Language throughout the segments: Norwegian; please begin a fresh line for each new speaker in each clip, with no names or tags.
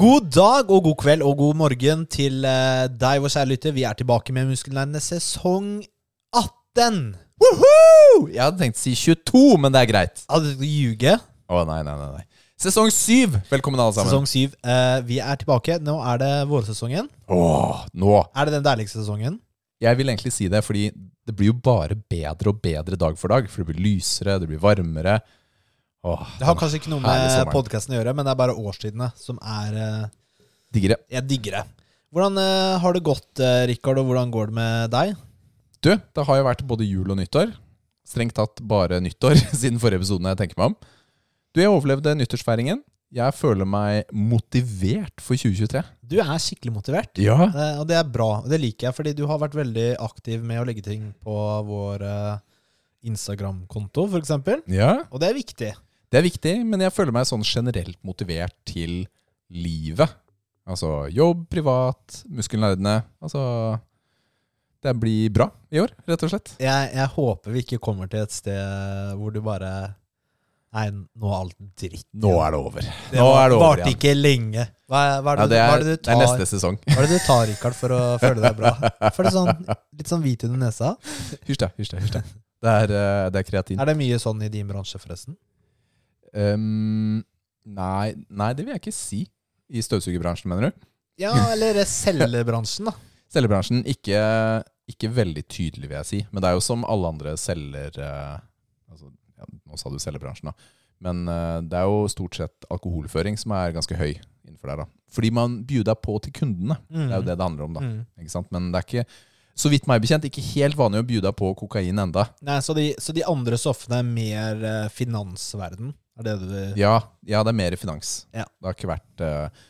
God dag og god kveld og god morgen til eh, deg, vår kjære lytter. Vi er tilbake med Muskelnerdene sesong 18.
Woohoo! Jeg hadde tenkt å si 22, men det er greit.
Hadde du ljuge?
Å nei, nei, nei, nei. Sesong 7! Velkommen alle sammen.
Sesong 7. Eh, vi er tilbake. Nå er det vårsesongen.
Åh, nå.
Er det den deiligste sesongen?
Jeg vil egentlig si det, fordi det blir jo bare bedre og bedre dag for dag. For det blir lysere, det blir varmere. Åh,
Det har kanskje ikke noe
Herlig
med
sommeren.
podkasten å gjøre, men det er bare årstidene som er eh,
diggere.
Jeg digger det. Hvordan eh, har det gått, eh, Rikard, og hvordan går det med deg?
Du, det har jo vært både jul og nyttår. Strengt tatt bare nyttår siden forrige episode jeg tenker meg om. Du, jeg overlevde nyttårsfeiringen. Jeg føler meg motivert for 2023.
Du er skikkelig motivert.
Ja.
Eh, Og det er bra, og det liker jeg, fordi du har vært veldig aktiv med å legge ting på vår eh, Instagram-konto, for eksempel.
Ja.
Og det er viktig.
Det er viktig, men jeg føler meg sånn generelt motivert til livet. Altså jobb, privat, muskelnerdene. Altså Det blir bra i år, rett og slett.
Jeg, jeg håper vi ikke kommer til et sted hvor du bare Nei, nå er alt dritt.
Nå er det over.
Det
Nå er det over
varte
igjen.
ikke lenge. Hva, er- hva, er
Ja,
det,
det,
hva
er,
er det du
det er
tar,
neste sesong.
hva er det du tar Rikard, for å føle deg bra? For det sånn, Litt sånn hvit under nesa.
Hysj, da. Hysj, da. hysj da. Det er, eh, det er kreatin.
Er det mye sånn i din bransje, forresten?
Um, nei, nei, det vil jeg ikke si. I støvsugerbransjen, mener du?
Ja, eller selgebransjen, da.
Selgerbransjen ikke, ikke veldig tydelig, vil jeg si. Men det er jo som alle andre selger eh, altså, ja, Nå sa du selgerbransjen, da. Men eh, det er jo stort sett alkoholføring som er ganske høy innenfor der. da. Fordi man bjuder deg på til kundene. Det er jo det det handler om, da.
Mm.
Ikke sant? Men det er ikke, så vidt meg bekjent, ikke helt vanlig å bjude deg på kokain enda.
Nei, så de, så de andre stoffene er mer eh, finansverden? Er det det du
Ja, ja det er mer finans.
Ja.
Det har ikke vært eh,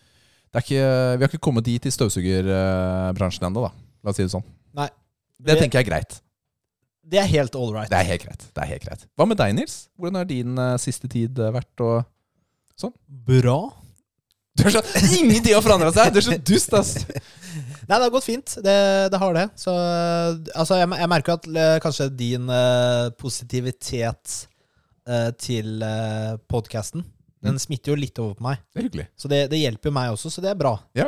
det er ikke, Vi har ikke kommet dit i støvsugerbransjen ennå, da. La oss si det sånn.
Nei.
Det tenker jeg er greit.
Det er helt all right.
Det er helt greit. det er helt greit. Hva med deg, Nils? Hvordan har din eh, siste tid eh, vært? Og
Bra.
du er så, ingenting har forandra seg! Du er så dust, ass!
Nei, det har gått fint. Det, det har det. Så eh, altså, jeg, jeg merker at eh, kanskje din eh, positivitet eh, til uh, podkasten, den
Mm.
smitter jo litt over på meg.
Det er hyggelig.
Så det, det hjelper jo meg også, så det er bra.
Ja.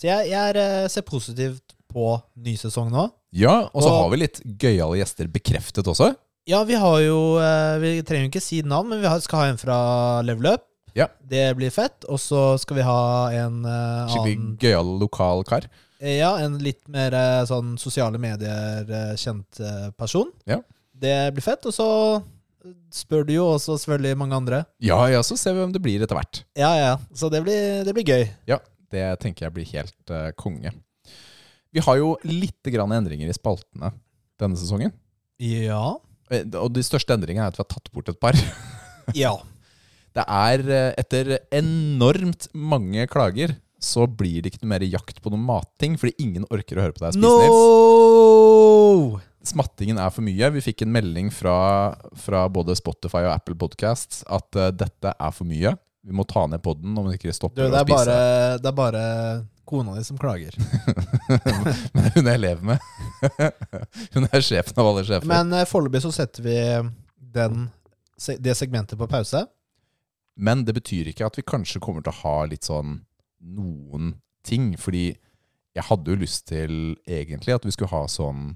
Så jeg, jeg er, eh, ser positivt på ny sesong nå.
Ja, Og så
Og-
har vi litt gøyale gjester bekreftet også.
Ja, vi har jo eh, Vi trenger jo ikke si navn, men vi har, skal ha en fra Level Up.
Ja.
Det blir fett. Og så skal vi ha en eh, annen
Skikkelig gøyal lokal kar.
eh, Ja, en litt mer eh, sånn sosiale medier-kjent eh, person.
Ja.
Det blir fett. Og så spør du jo også selvfølgelig mange andre.
Ja, ja, så ser vi hvem det blir etter hvert.
Ja, ja. Så det blir, det blir gøy.
Ja, det tenker jeg blir helt eh, konge. Vi har jo litt grann endringer i spaltene denne sesongen.
Ja.
Eh, Og de største endringene er at vi har tatt bort et par.
Ja.
Det er eh, etter enormt mange klager så blir det ikke noe mer jakt på noen matting, fordi ingen orker å høre på deg spise, Nils.
No!
Smattingen er for mye. Vi fikk en melding fra, fra både Spotify og Apple Podcasts at eh, dette er for mye. Vi må ta ned podden om vi ikke
Du,
stopper
det er
å spise.
bare, det er bare kona di som klager.
Men hun jeg lever med. hun er sjefen av alle sjefer. Men,
Men eh, foreløpig så setter vi den, se- det segmentet på pause.
det betyr ikke at vi kanskje kommer til å ha litt sånn noen ting, fordi jeg hadde jo lyst til egentlig at vi skulle ha sånn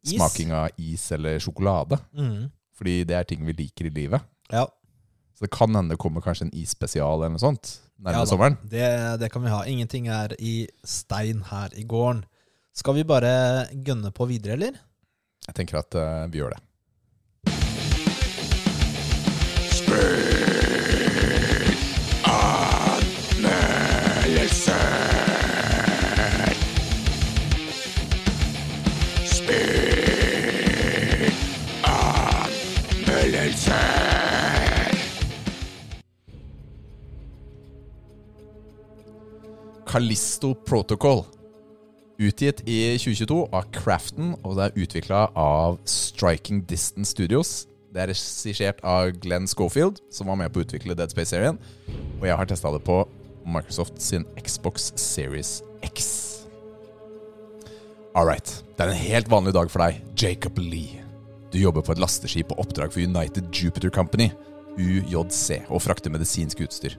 Is.
smaking av is eller sjokolade.
Mm.
Fordi det er ting vi liker i livet.
Ja,
Så det kan hende det kommer kanskje en isspesial eller noe sånt
Ja
nærmere
da.
sommeren.
det, det kan vi ha. Ingenting er i stein her i gården. Skal vi bare gønne på videre, eller?
Jeg tenker at eh, vi gjør det. Callisto Protocol. Utgitt i 2022 av Crafton, og det er utvikla av Striking Distance Studios. Det er regissert av Glenn Schofield, som var med på å utvikle Dead Space-serien. Og jeg har testa det på Microsoft sin Xbox Series X. All right. Det er en helt vanlig dag for deg, Jacob Lee. Du jobber på et lasteskip på oppdrag for United Jupiter Company, UJC, og frakter medisinsk utstyr.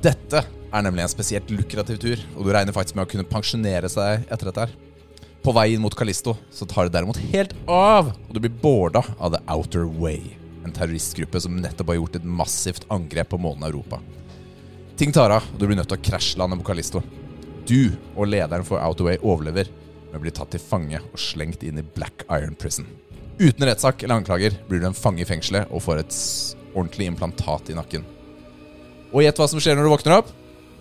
Dette er nemlig en spesielt lukrativ tur, og du regner faktisk med å kunne pensjonere seg etter dette. her. På vei inn mot Kalisto så tar det derimot helt av, og du blir bårda av The Outer Way, en terroristgruppe som nettopp har gjort et massivt angrep på månen Europa. Ting tar av, og du blir nødt til å krasjlande på Kalisto. Du og lederen for Outaway overlever, men blir tatt til fange og slengt inn i Black Iron Prison. Uten rettssak eller anklager blir du en fange i fengselet og får et s- ordentlig implantat i nakken. Og gjett hva som skjer når du våkner opp?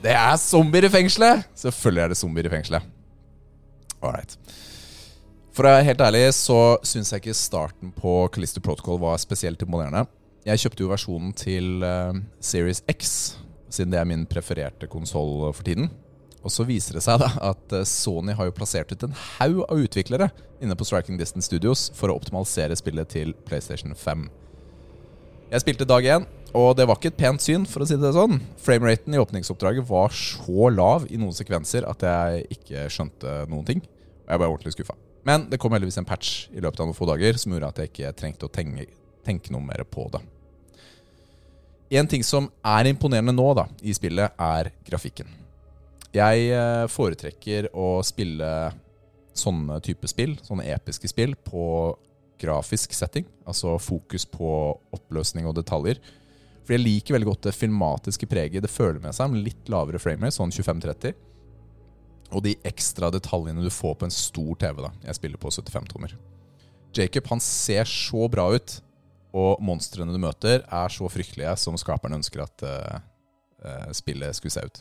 Det er zombier i fengselet! Selvfølgelig er det zombier i fengselet. Alright. For å være helt ærlig så syns jeg ikke starten på Callisto Protocol var spesielt imponerende. Jeg kjøpte jo versjonen til eh, Series X, siden det er min prefererte konsoll for tiden. Og så viser det seg da at eh, Sony har jo plassert ut en haug av utviklere inne på Striking Distance Studios for å optimalisere spillet til PlayStation 5. Jeg spilte dag én, og det var ikke et pent syn, for å si det sånn. Frameraten i åpningsoppdraget var så lav i noen sekvenser at jeg ikke skjønte noen ting. Og jeg ble ordentlig skuffa. Men det kom heldigvis en patch i løpet av noen få dager som gjorde at jeg ikke trengte å tenke, tenke noe mer på det. En ting som er imponerende nå da, i spillet, er grafikken. Jeg eh, foretrekker å spille sånne type spill, sånne episke spill, på grafisk setting. Altså fokus på oppløsning og detaljer. For jeg liker veldig godt det filmatiske preget det føler med seg, med litt lavere framer, sånn 25-30. Og de ekstra detaljene du får på en stor TV. da. Jeg spiller på 75 tommer. Jacob han ser så bra ut, og monstrene du møter, er så fryktelige som skaperen ønsker at eh, eh, spillet skulle se ut.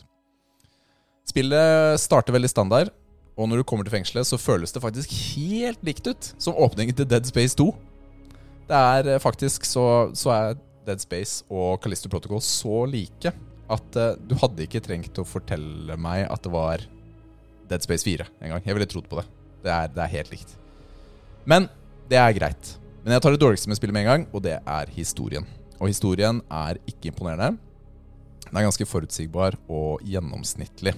Spillet starter veldig standard, og når du kommer til fengselet, så føles det faktisk helt likt ut som åpningen til Dead Space 2. Det er eh, faktisk så, så er Dead Space og Callisto Protocol så like at eh, du hadde ikke trengt å fortelle meg at det var Dead Space 4 engang. Jeg ville trodd på det. Det er, det er helt likt. Men det er greit. Men jeg tar det dårligste med spillet med en gang, og det er historien. Og historien er ikke imponerende. Den er ganske forutsigbar og gjennomsnittlig.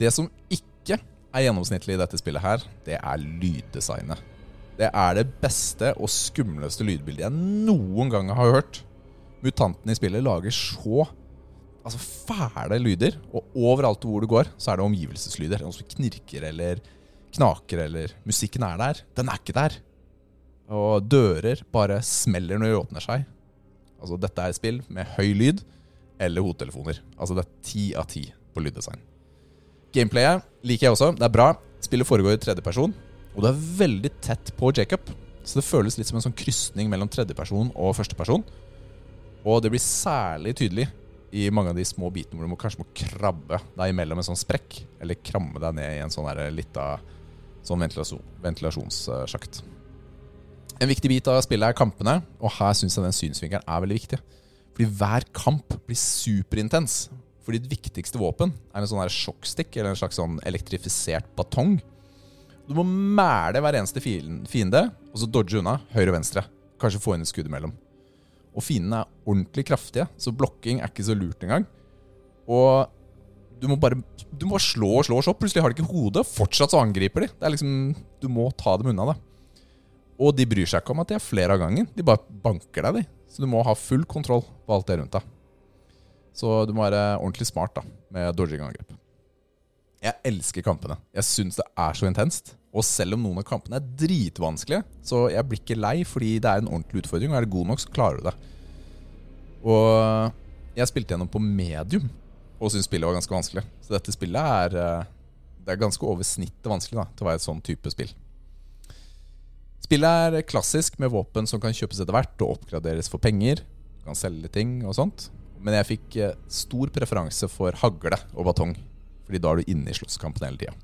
Det som ikke er gjennomsnittlig i dette spillet her, det er lyddesignet. Det er det beste og skumleste lydbildet jeg noen gang har hørt. Mutantene i spillet lager så altså, fæle lyder, og overalt hvor du går, så er det omgivelseslyder. Noen som knirker eller knaker eller Musikken er der. Den er ikke der. Og dører bare smeller når de åpner seg. Altså, dette er et spill med høy lyd eller hodetelefoner. Altså, det er ti av ti på lyddesign. Gameplayet liker jeg også. Det er bra. Spillet foregår i tredjeperson, og du er veldig tett på Jacob. Så det føles litt som en sånn krysning mellom tredjeperson og førsteperson. Og det blir særlig tydelig i mange av de små bitene hvor du må, kanskje må krabbe deg imellom en sånn sprekk, eller kramme deg ned i en sånn der lita sånn ventilasjon, ventilasjonssjakt. En viktig bit av spillet er kampene, og her syns jeg den synsvinkelen er veldig viktig. Fordi hver kamp blir superintens. For ditt viktigste våpen er en sånn her sjokkstikk, eller en slags sånn elektrifisert batong. Du må mæle hver eneste filen- fiende, og så dodge unna høyre og venstre. Kanskje få inn et skudd imellom. Og fiendene er ordentlig kraftige, så blokking er ikke så lurt engang. Og du må bare du må bare slå og slå og slå. Plutselig har de ikke hodet, fortsatt så angriper de. Det er liksom, Du må ta dem unna, da. Og de bryr seg ikke om at de er flere av gangen. De bare banker deg, de. Så du må ha full kontroll på alt det rundt deg. Så du må være ordentlig smart da, med dodging og angrep. Jeg elsker kampene. Jeg syns det er så intenst. Og selv om noen av kampene er dritvanskelige, så jeg blir ikke lei fordi det er en ordentlig utfordring, og er du god nok, så klarer du det. Og jeg spilte gjennom på medium, og syntes spillet var ganske vanskelig. Så dette spillet er, eh, det er ganske over snittet vanskelig da, til å være et sånn type spill. Spillet er klassisk med våpen som kan kjøpes etter hvert og oppgraderes for penger. Du kan selge ting og sånt. Men jeg fikk eh, stor preferanse for hagle og batong, fordi da er du inne i slåsskampen hele tida.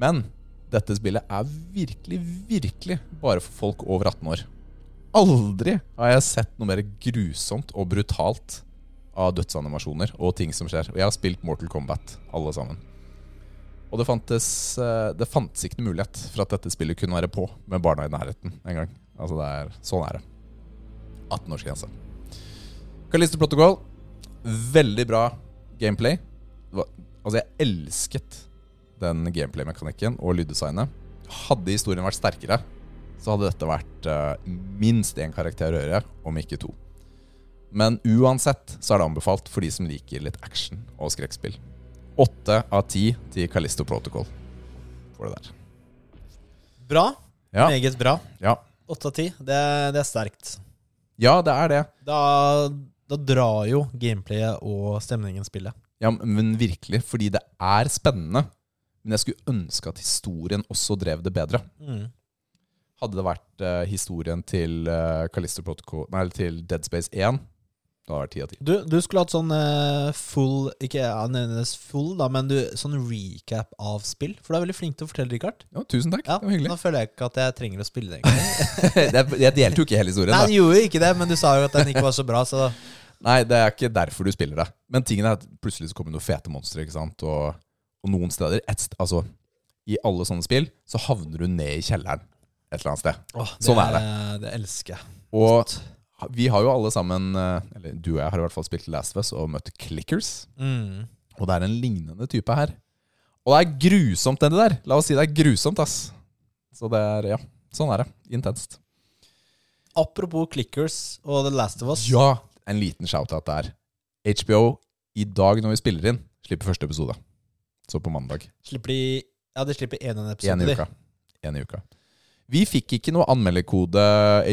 Men dette spillet er virkelig, virkelig bare for folk over 18 år. Aldri har jeg sett noe mer grusomt og brutalt av dødsanimasjoner og ting som skjer. Og jeg har spilt Mortal Kombat, alle sammen. Og det fantes, eh, det fantes ikke noen mulighet for at dette spillet kunne være på med barna i nærheten en gang. Altså det er, sånn er det. 18-årsgrense. Callisto Protocol. Veldig bra gameplay. Det var, altså jeg elsket den gameplay-mekanikken og lyddesignet. Hadde historien vært sterkere, så hadde dette vært eh, minst én karakter å gjøre, om ikke to. Men uansett så er det anbefalt for de som liker litt action og skrekkspill. Åtte av ti til Callisto Protocol. Får det der.
Bra.
Ja.
Meget bra.
Ja,
Åtte av ti. Det, det er sterkt.
ja det er det.
Da, da drar jo gameplayet og stemningen spillet.
Ja, men virkelig, fordi det er spennende. Men jeg skulle ønske at historien også drev det bedre.
Mm.
Hadde det vært eh, historien til, eh, Callisto Protocol, nei, eller til Dead Space 1, da hadde det vært ti av ti.
Du, du skulle hatt sånn eh, full Ikke ja, nødvendigvis full, da, men du, sånn recap av spill. For du er veldig flink til å fortelle, Richard.
Ja, tusen takk,
Ja,
det var hyggelig.
Nå føler jeg ikke at jeg trenger å spille det. egentlig.
jeg, jeg delte jo ikke hele historien.
Nei,
da.
den gjorde jo ikke det, men du sa jo at den ikke var så bra, så
Nei, det er ikke derfor du spiller det. Men tingen er at plutselig så kommer det noen fete monstre, ikke sant? Og, og noen steder et, st- Altså, i alle sånne spill så havner du ned i kjelleren et eller annet sted.
Åh,
Sånn er
det. Det elsker jeg.
Og ha- vi har jo alle sammen, eh, eller du og jeg har i hvert fall spilt Last of Us og møtt Clickers.
Mm.
Og det er en lignende type her. Og det er grusomt, den der. La oss si det er grusomt, ass. Så det er Ja, sånn er det. Intenst.
Apropos Clickers og The Last of Us.
Ja, en liten shout-out der. HBO, i dag når vi spiller inn, slipper første episode. Så på mandag.
Slipper de Ja, de slipper én en episode.
En i
de.
uka. En i uka. Vi fikk ikke noe anmeldekode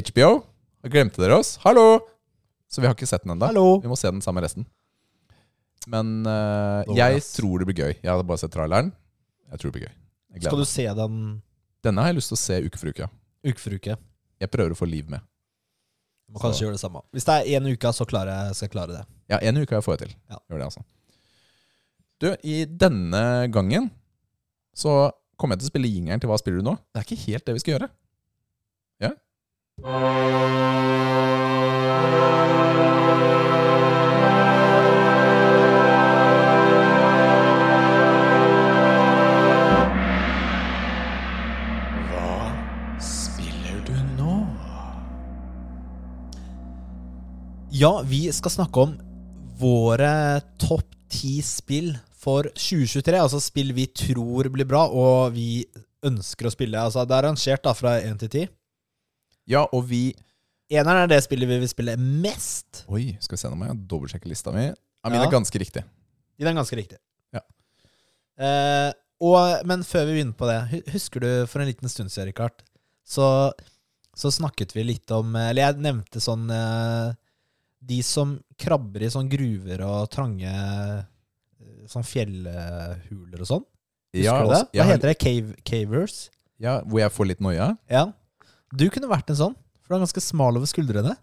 HBO. Glemte dere oss? Hallo! Så vi har ikke sett den ennå.
Hallo!
Vi må se den sammen med resten. Men eh,
Dårlig,
jeg
ass.
tror det blir gøy. Jeg hadde bare sett traileren. Jeg tror det blir gøy. Jeg
Skal du
gleder meg.
se den
Denne har jeg lyst til å se uke for uke.
uke for uke?
Jeg prøver å få liv med.
Du må kanskje
Så-
gjøre det samme. Hvis det er én uke, så klarer jeg, skal jeg klare det.
Ja, en uke har jeg fått til.
Ja.
Gjør det, altså. Du, i denne gangen så kommer jeg til å spille jingeren til Hva spiller du nå? Det er ikke helt det vi skal gjøre. Ja? Hva spiller du nå?
Ja, vi skal snakke om våre topp ti spill for 2023. Altså spill vi tror blir bra, og vi ønsker å spille. Altså, det er rangert da fra én til ti.
Ja, og vi
Eneren er det spillet vi vil spille mest.
Oi, skal vi se nå må jeg dobbeltsjekke lista mi. Ja, min
Ja.
er ganske riktig.
I den er ganske riktig.
Ja.
Eh, og, men før vi begynner på det, hu- husker du for en liten stund siden, Rikard, så, så snakket vi litt om eh, Eller jeg nevnte sånn eh, De som krabber i sånn gruver og trange eh, Sånn fjellhuler og sånn. Husker
Ja,
du det?
altså, jeg
Hva
har-
heter det? Cave, cavers?
Ja, hvor jeg får litt noia.
Ja. Du kunne vært en sånn, for du er ganske smal over skuldrene.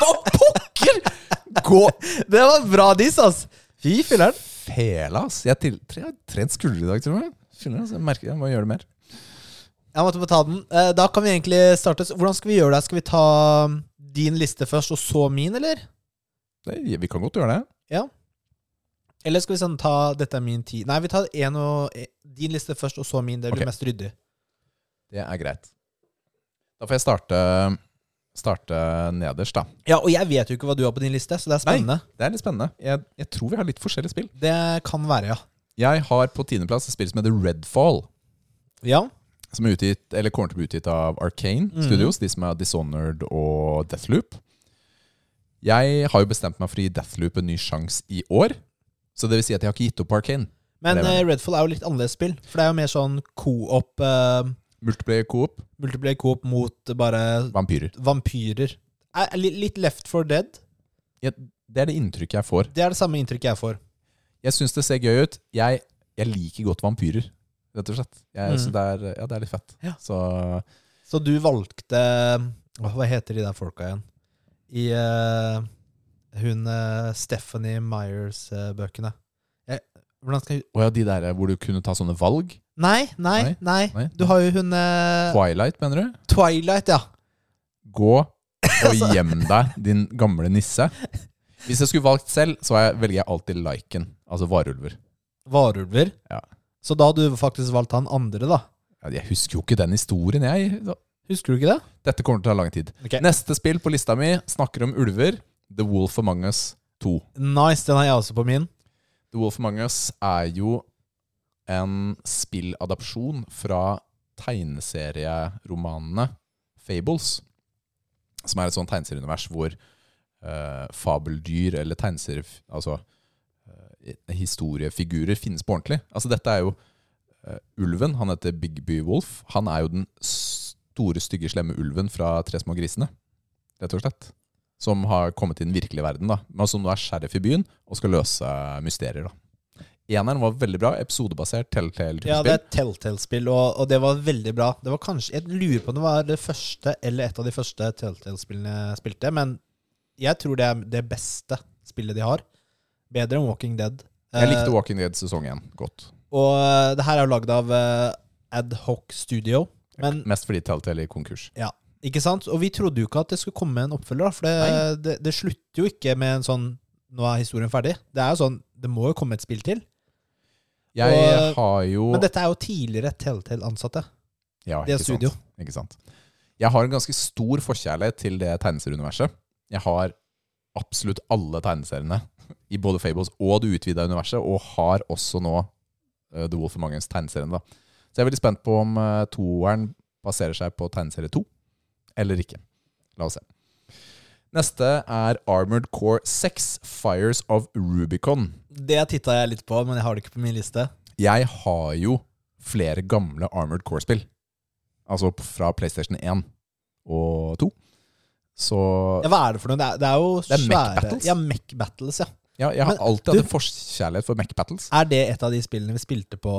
Hva pokker?! Gå
Det var bra diss, ass! Fy filleren.
fela, ass. Jeg, til, jeg har trent skuldre i dag, tror jeg. Skjønner du? Så Jeg merker jeg må gjøre det mer.
Jeg måtte få ta den. Eh, Da kan vi egentlig starte. Så Hvordan skal vi gjøre det? Skal vi ta din liste først, og så min, eller?
Det, vi kan godt gjøre det.
Eller skal vi sånn ta 'dette er min tid'? Nei, vi tar en og, eh, din liste først, og så min. Det blir
Ok.
mest ryddig.
Det er greit. Da får jeg starte, starte nederst, da.
Ja, og jeg vet jo ikke hva du har på din liste, så det er
Nei.
spennende.
Det er litt spennende. Jeg, jeg tror vi har litt forskjellige spill.
Det kan være, ja.
Jeg har på tiendeplass et spill som heter Redfall.
Ja.
Som er utgitt, eller kommer til å bli utgitt av Arcane
Mhm.
Studios, de som er Dishonored og Deathloop. Jeg har jo bestemt meg for å gi Deathloop en ny sjanse i år. Så det vil si at jeg har ikke gitt opp Arcane.
Men
Det er det.
eh, Redfall er jo litt annerledes spill, for det er jo mer sånn co-op, eh,
Multiplayer coop,
multiplayer co-op mot bare
vampyrer.
vampyrer. Er- er li- Litt Left for Dead.
Jeg, det er det inntrykket jeg får.
Det er det samme inntrykket jeg får.
Jeg syns det ser gøy ut. Jeg, jeg liker godt vampyrer, rett og slett. Jeg,
Mhm.
så det er, ja, det er litt fett.
Ja.
Så
Så du valgte Åh, Hva heter de der folka igjen? I eh, hun eh, Stephanie Myers-bøkene. hvordan skal hun
Og ja, de der eh, hvor du kunne ta sånne valg.
nei, nei,
Nei,
nei.
nei.
Du har jo hun eh,
Twilight, mener du?
Twilight, ja.
Gå og gjem deg, din gamle nisse. Hvis jeg skulle valgt selv, så er- velger jeg alltid Lycan, altså varulver.
Varulver.
Ja.
Så da hadde du faktisk valgt han andre, da.
Ja, Jeg husker jo ikke den historien, jeg.
Husker du ikke det?
Dette kommer til å ta lang tid.
Ok.
Neste spill på lista mi snakker om ulver. The Wolf Among Us 2.
Nice, den har jeg også på min.
The Wolf Among Us er jo en spilladapsjon fra tegneserieromanene Fables, som er et sånt tegneserieunivers hvor eh, fabeldyr eller tegneserier Altså eh, historiefigurer finnes på ordentlig. Altså dette er jo eh, ulven. Han heter Bigby Wolf. Han er jo den store, stygge, slemme ulven fra Tre små grisene, rett og slett. Som har kommet i den virkelige verden, da. Men som nå er sheriff i byen og skal løse mysterier, da. Eneren var veldig bra. Episodebasert
Ja, det
telltale-spill.
er et Telltale-spill, og, og det var veldig bra. Det var kanskje, Jeg lurer på om det var det første eller et av de første Telltale-spillene jeg spilte, men jeg tror det er det beste spillet de har. Bedre enn Walking Dead. Eh,
Jeg likte Walking Dead sesong én godt.
og eh, det her er jo lagd av eh, Adhoc Studio, men
Mest fordi Telltale er i konkurs.
Ja, ikke sant? Og vi trodde jo ikke at det skulle komme en oppfølger, da, for det, det, det slutter jo ikke med en sånn Nå er historien ferdig. Det er jo sånn, det må jo komme et spill til.
Jeg
Og- eh,
har jo
Men dette er jo tidligere Telltale-ansatte.
Ja,
Det er
ikke
studio.
Sant. Ikke sant. Jeg har en ganske stor forkjærlighet til det tegneserieuniverset. Jeg har absolutt alle tegneseriene i både Fables og det utvida universet, og har også nå eh, The Wolf of Mangens tegneserien. Da. Så jeg er veldig spent på om eh, toeren baserer seg på tegneserie to, eller ikke. La oss se. Neste er Armored Core 6, Fires of Rubicon.
Det titta jeg litt på, men jeg har det ikke på min liste.
Jeg har jo flere gamle Armored Core-spill. Altså p- fra PlayStation 1 og 2. Så
Ja, hva er det for noe? Det er, det er jo
Det er
svære
Mech Battles.
Ja, Mech Battles, ja.
ja, jeg har
men
alltid
du-
hatt en forkjærlighet for Mech Battles.
Er det et av de spillene vi spilte på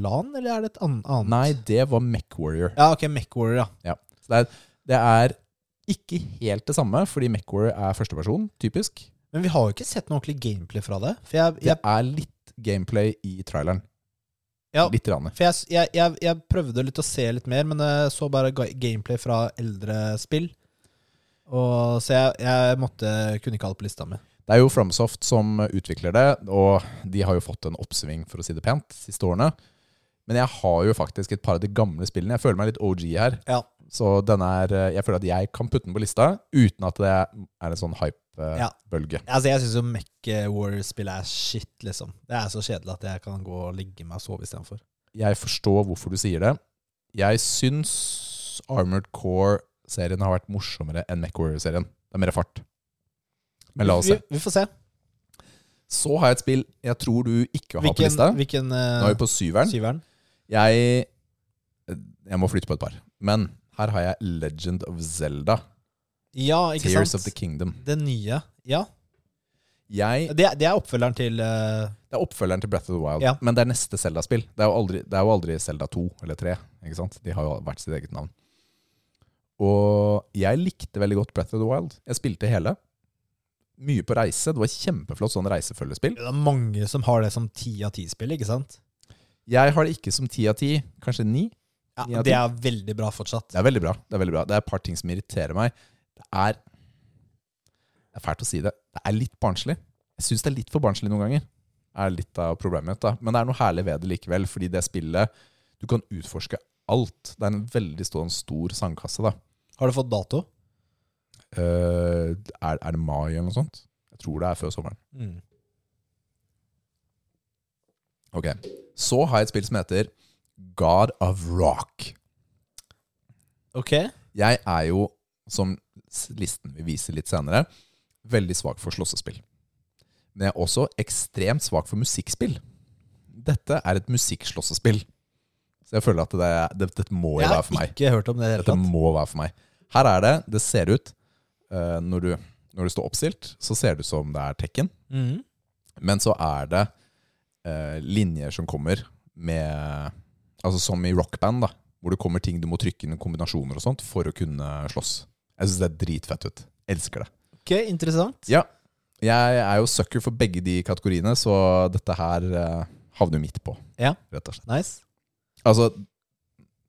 LAN, eller er det et ann- annet?
Nei, det var Mech Warrior.
Ja, ok, Mech Warrior, ja.
Så det, er, det er ikke helt det samme, fordi Mech Warrior er førsteperson, typisk.
Men vi har jo ikke sett noe ordentlig gameplay fra det. For jeg,
Det
jeg,
er litt gameplay i traileren.
Ja.
Litt. Rane.
For jeg, jeg, jeg, jeg prøvde litt å se litt mer, men jeg så bare ga- gameplay fra eldre spill. Og, så jeg, jeg måtte, kunne ikke ha det på lista mi.
Det er jo Fromsoft som utvikler det, og de har jo fått en oppsving, for å si det pent, de siste årene. Men jeg har jo faktisk et par av de gamle spillene. Jeg føler meg litt OG her.
Ja.
Så denne er, eh, jeg føler at jeg kan putte den på lista uten at det er en sånn
Ja.
hype-bølge.
Altså, jeg syns jo Mech Warrior-spill er shit, liksom. Det er så kjedelig at jeg kan gå og ligge meg og sove istedenfor.
Jeg forstår hvorfor du sier det. Jeg syns Armored Core-serien har vært morsommere enn MechWarrior-serien. Det er mer fart. Men la oss
Vi,
se.
vi får se.
Så har jeg et spill jeg tror du ikke har på
Hvilken,
lista.
hvilken
Nå er
eh,
vi på syveren.
syveren?
Jeg, eh, jeg må flytte på et par. Men her har jeg Legend of Zelda.
Ja, ikke
Tears of
sant?
the Kingdom.
Det nye. Ja.
Jeg,
Det, er- det er oppfølgeren til eh,
det er oppfølgeren til Breath of the Wild,
Ja.
men det er neste Zelda-spill. Det er jo aldri, det er jo aldri Zelda 2 eller 3. Ikke sant? De har jo hvert sitt eget navn. Og jeg likte veldig godt Breath of the Wild. Jeg spilte hele. Mye på reise. Det var kjempeflott sånn reisefølgespill.
Det er mange som har det som ti av ti-spill, ikke sant?
Jeg har det ikke som ti av ti, kanskje ni.
Ja,
Ti av
det er veldig bra fortsatt.
Det er veldig bra. Det er veldig bra. Det er et par ting som irriterer meg. Det er Det er fælt å si det. Det er litt barnslig. Jeg syns det er litt for barnslig noen ganger. Det er litt av problemet mitt, da. Men det er noe herlig ved det likevel, fordi det spillet Du kan utforske alt. Det er en veldig stor, stor sandkasse, da.
Har du fått dato?
Eh, er, er det mai eller noe sånt? Jeg tror det er før sommeren.
Mm.
Ok. Så har jeg et spill som heter God of Rock.
Ok.
Jeg er jo, som s- listen vil vise litt senere, veldig svak for slåssespill. Men jeg er også ekstremt svak for musikkspill. Dette er et musikkslåssespill. Så jeg føler at det, er- det, dette må jo
Jeg
være
har
for meg.
ikke hørt om det i det hele
Dette
tatt.
må være for meg. Her er det, det ser ut eh, når, du, når du står oppstilt, så ser det ut som det er tekken.
Mhm.
Men så er det eh, linjer som kommer med Altså som i rockband, da. Hvor det kommer ting du må trykke inn i kombinasjoner og sånt for å kunne slåss. Jeg syns det er dritfett ut. Elsker det.
Ok, interessant.
Ja. Jeg er jo sucker for begge de kategoriene, så dette her eh, havner jo midt på.
Ja.
Rett og slett.
Nice.
Altså,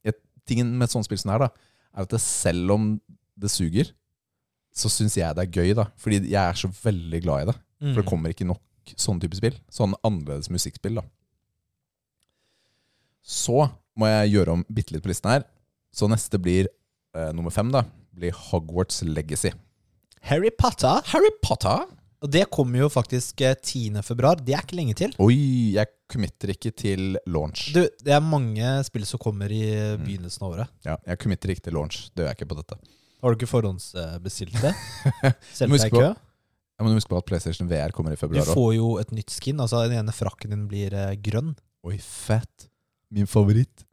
et, tingen med et sånt spill som det her, da, er at det, selv om det suger, så syns jeg det er gøy, da. Fordi jeg er så veldig glad i det.
Mm.
For det kommer ikke nok sånne type spill. Sånn annerledes musikkspill, da. Så må jeg gjøre om bitte litt på listen her. Så neste blir eh, nummer fem, da. Blir Hogwarts Legacy.
Harry Potter.
Harry Potter?
Og det kommer jo faktisk eh, 10. februar. Det er ikke lenge til.
Oi, jeg committer ikke til launch.
Du, det er mange spill som kommer i eh,
Mm.
begynnelsen av året.
Ja, jeg committer ikke til launch. Det gjør jeg ikke på dette.
Har du ikke forhåndsbestilt det?
Du
Selv om
må
det
huske
er kø?
Jeg må huske på at PlayStation VR kommer i
Du
februar òg.
får jo et nytt skin. Altså Den ene frakken din blir eh, grønn.
Oi, fett. Min favoritt.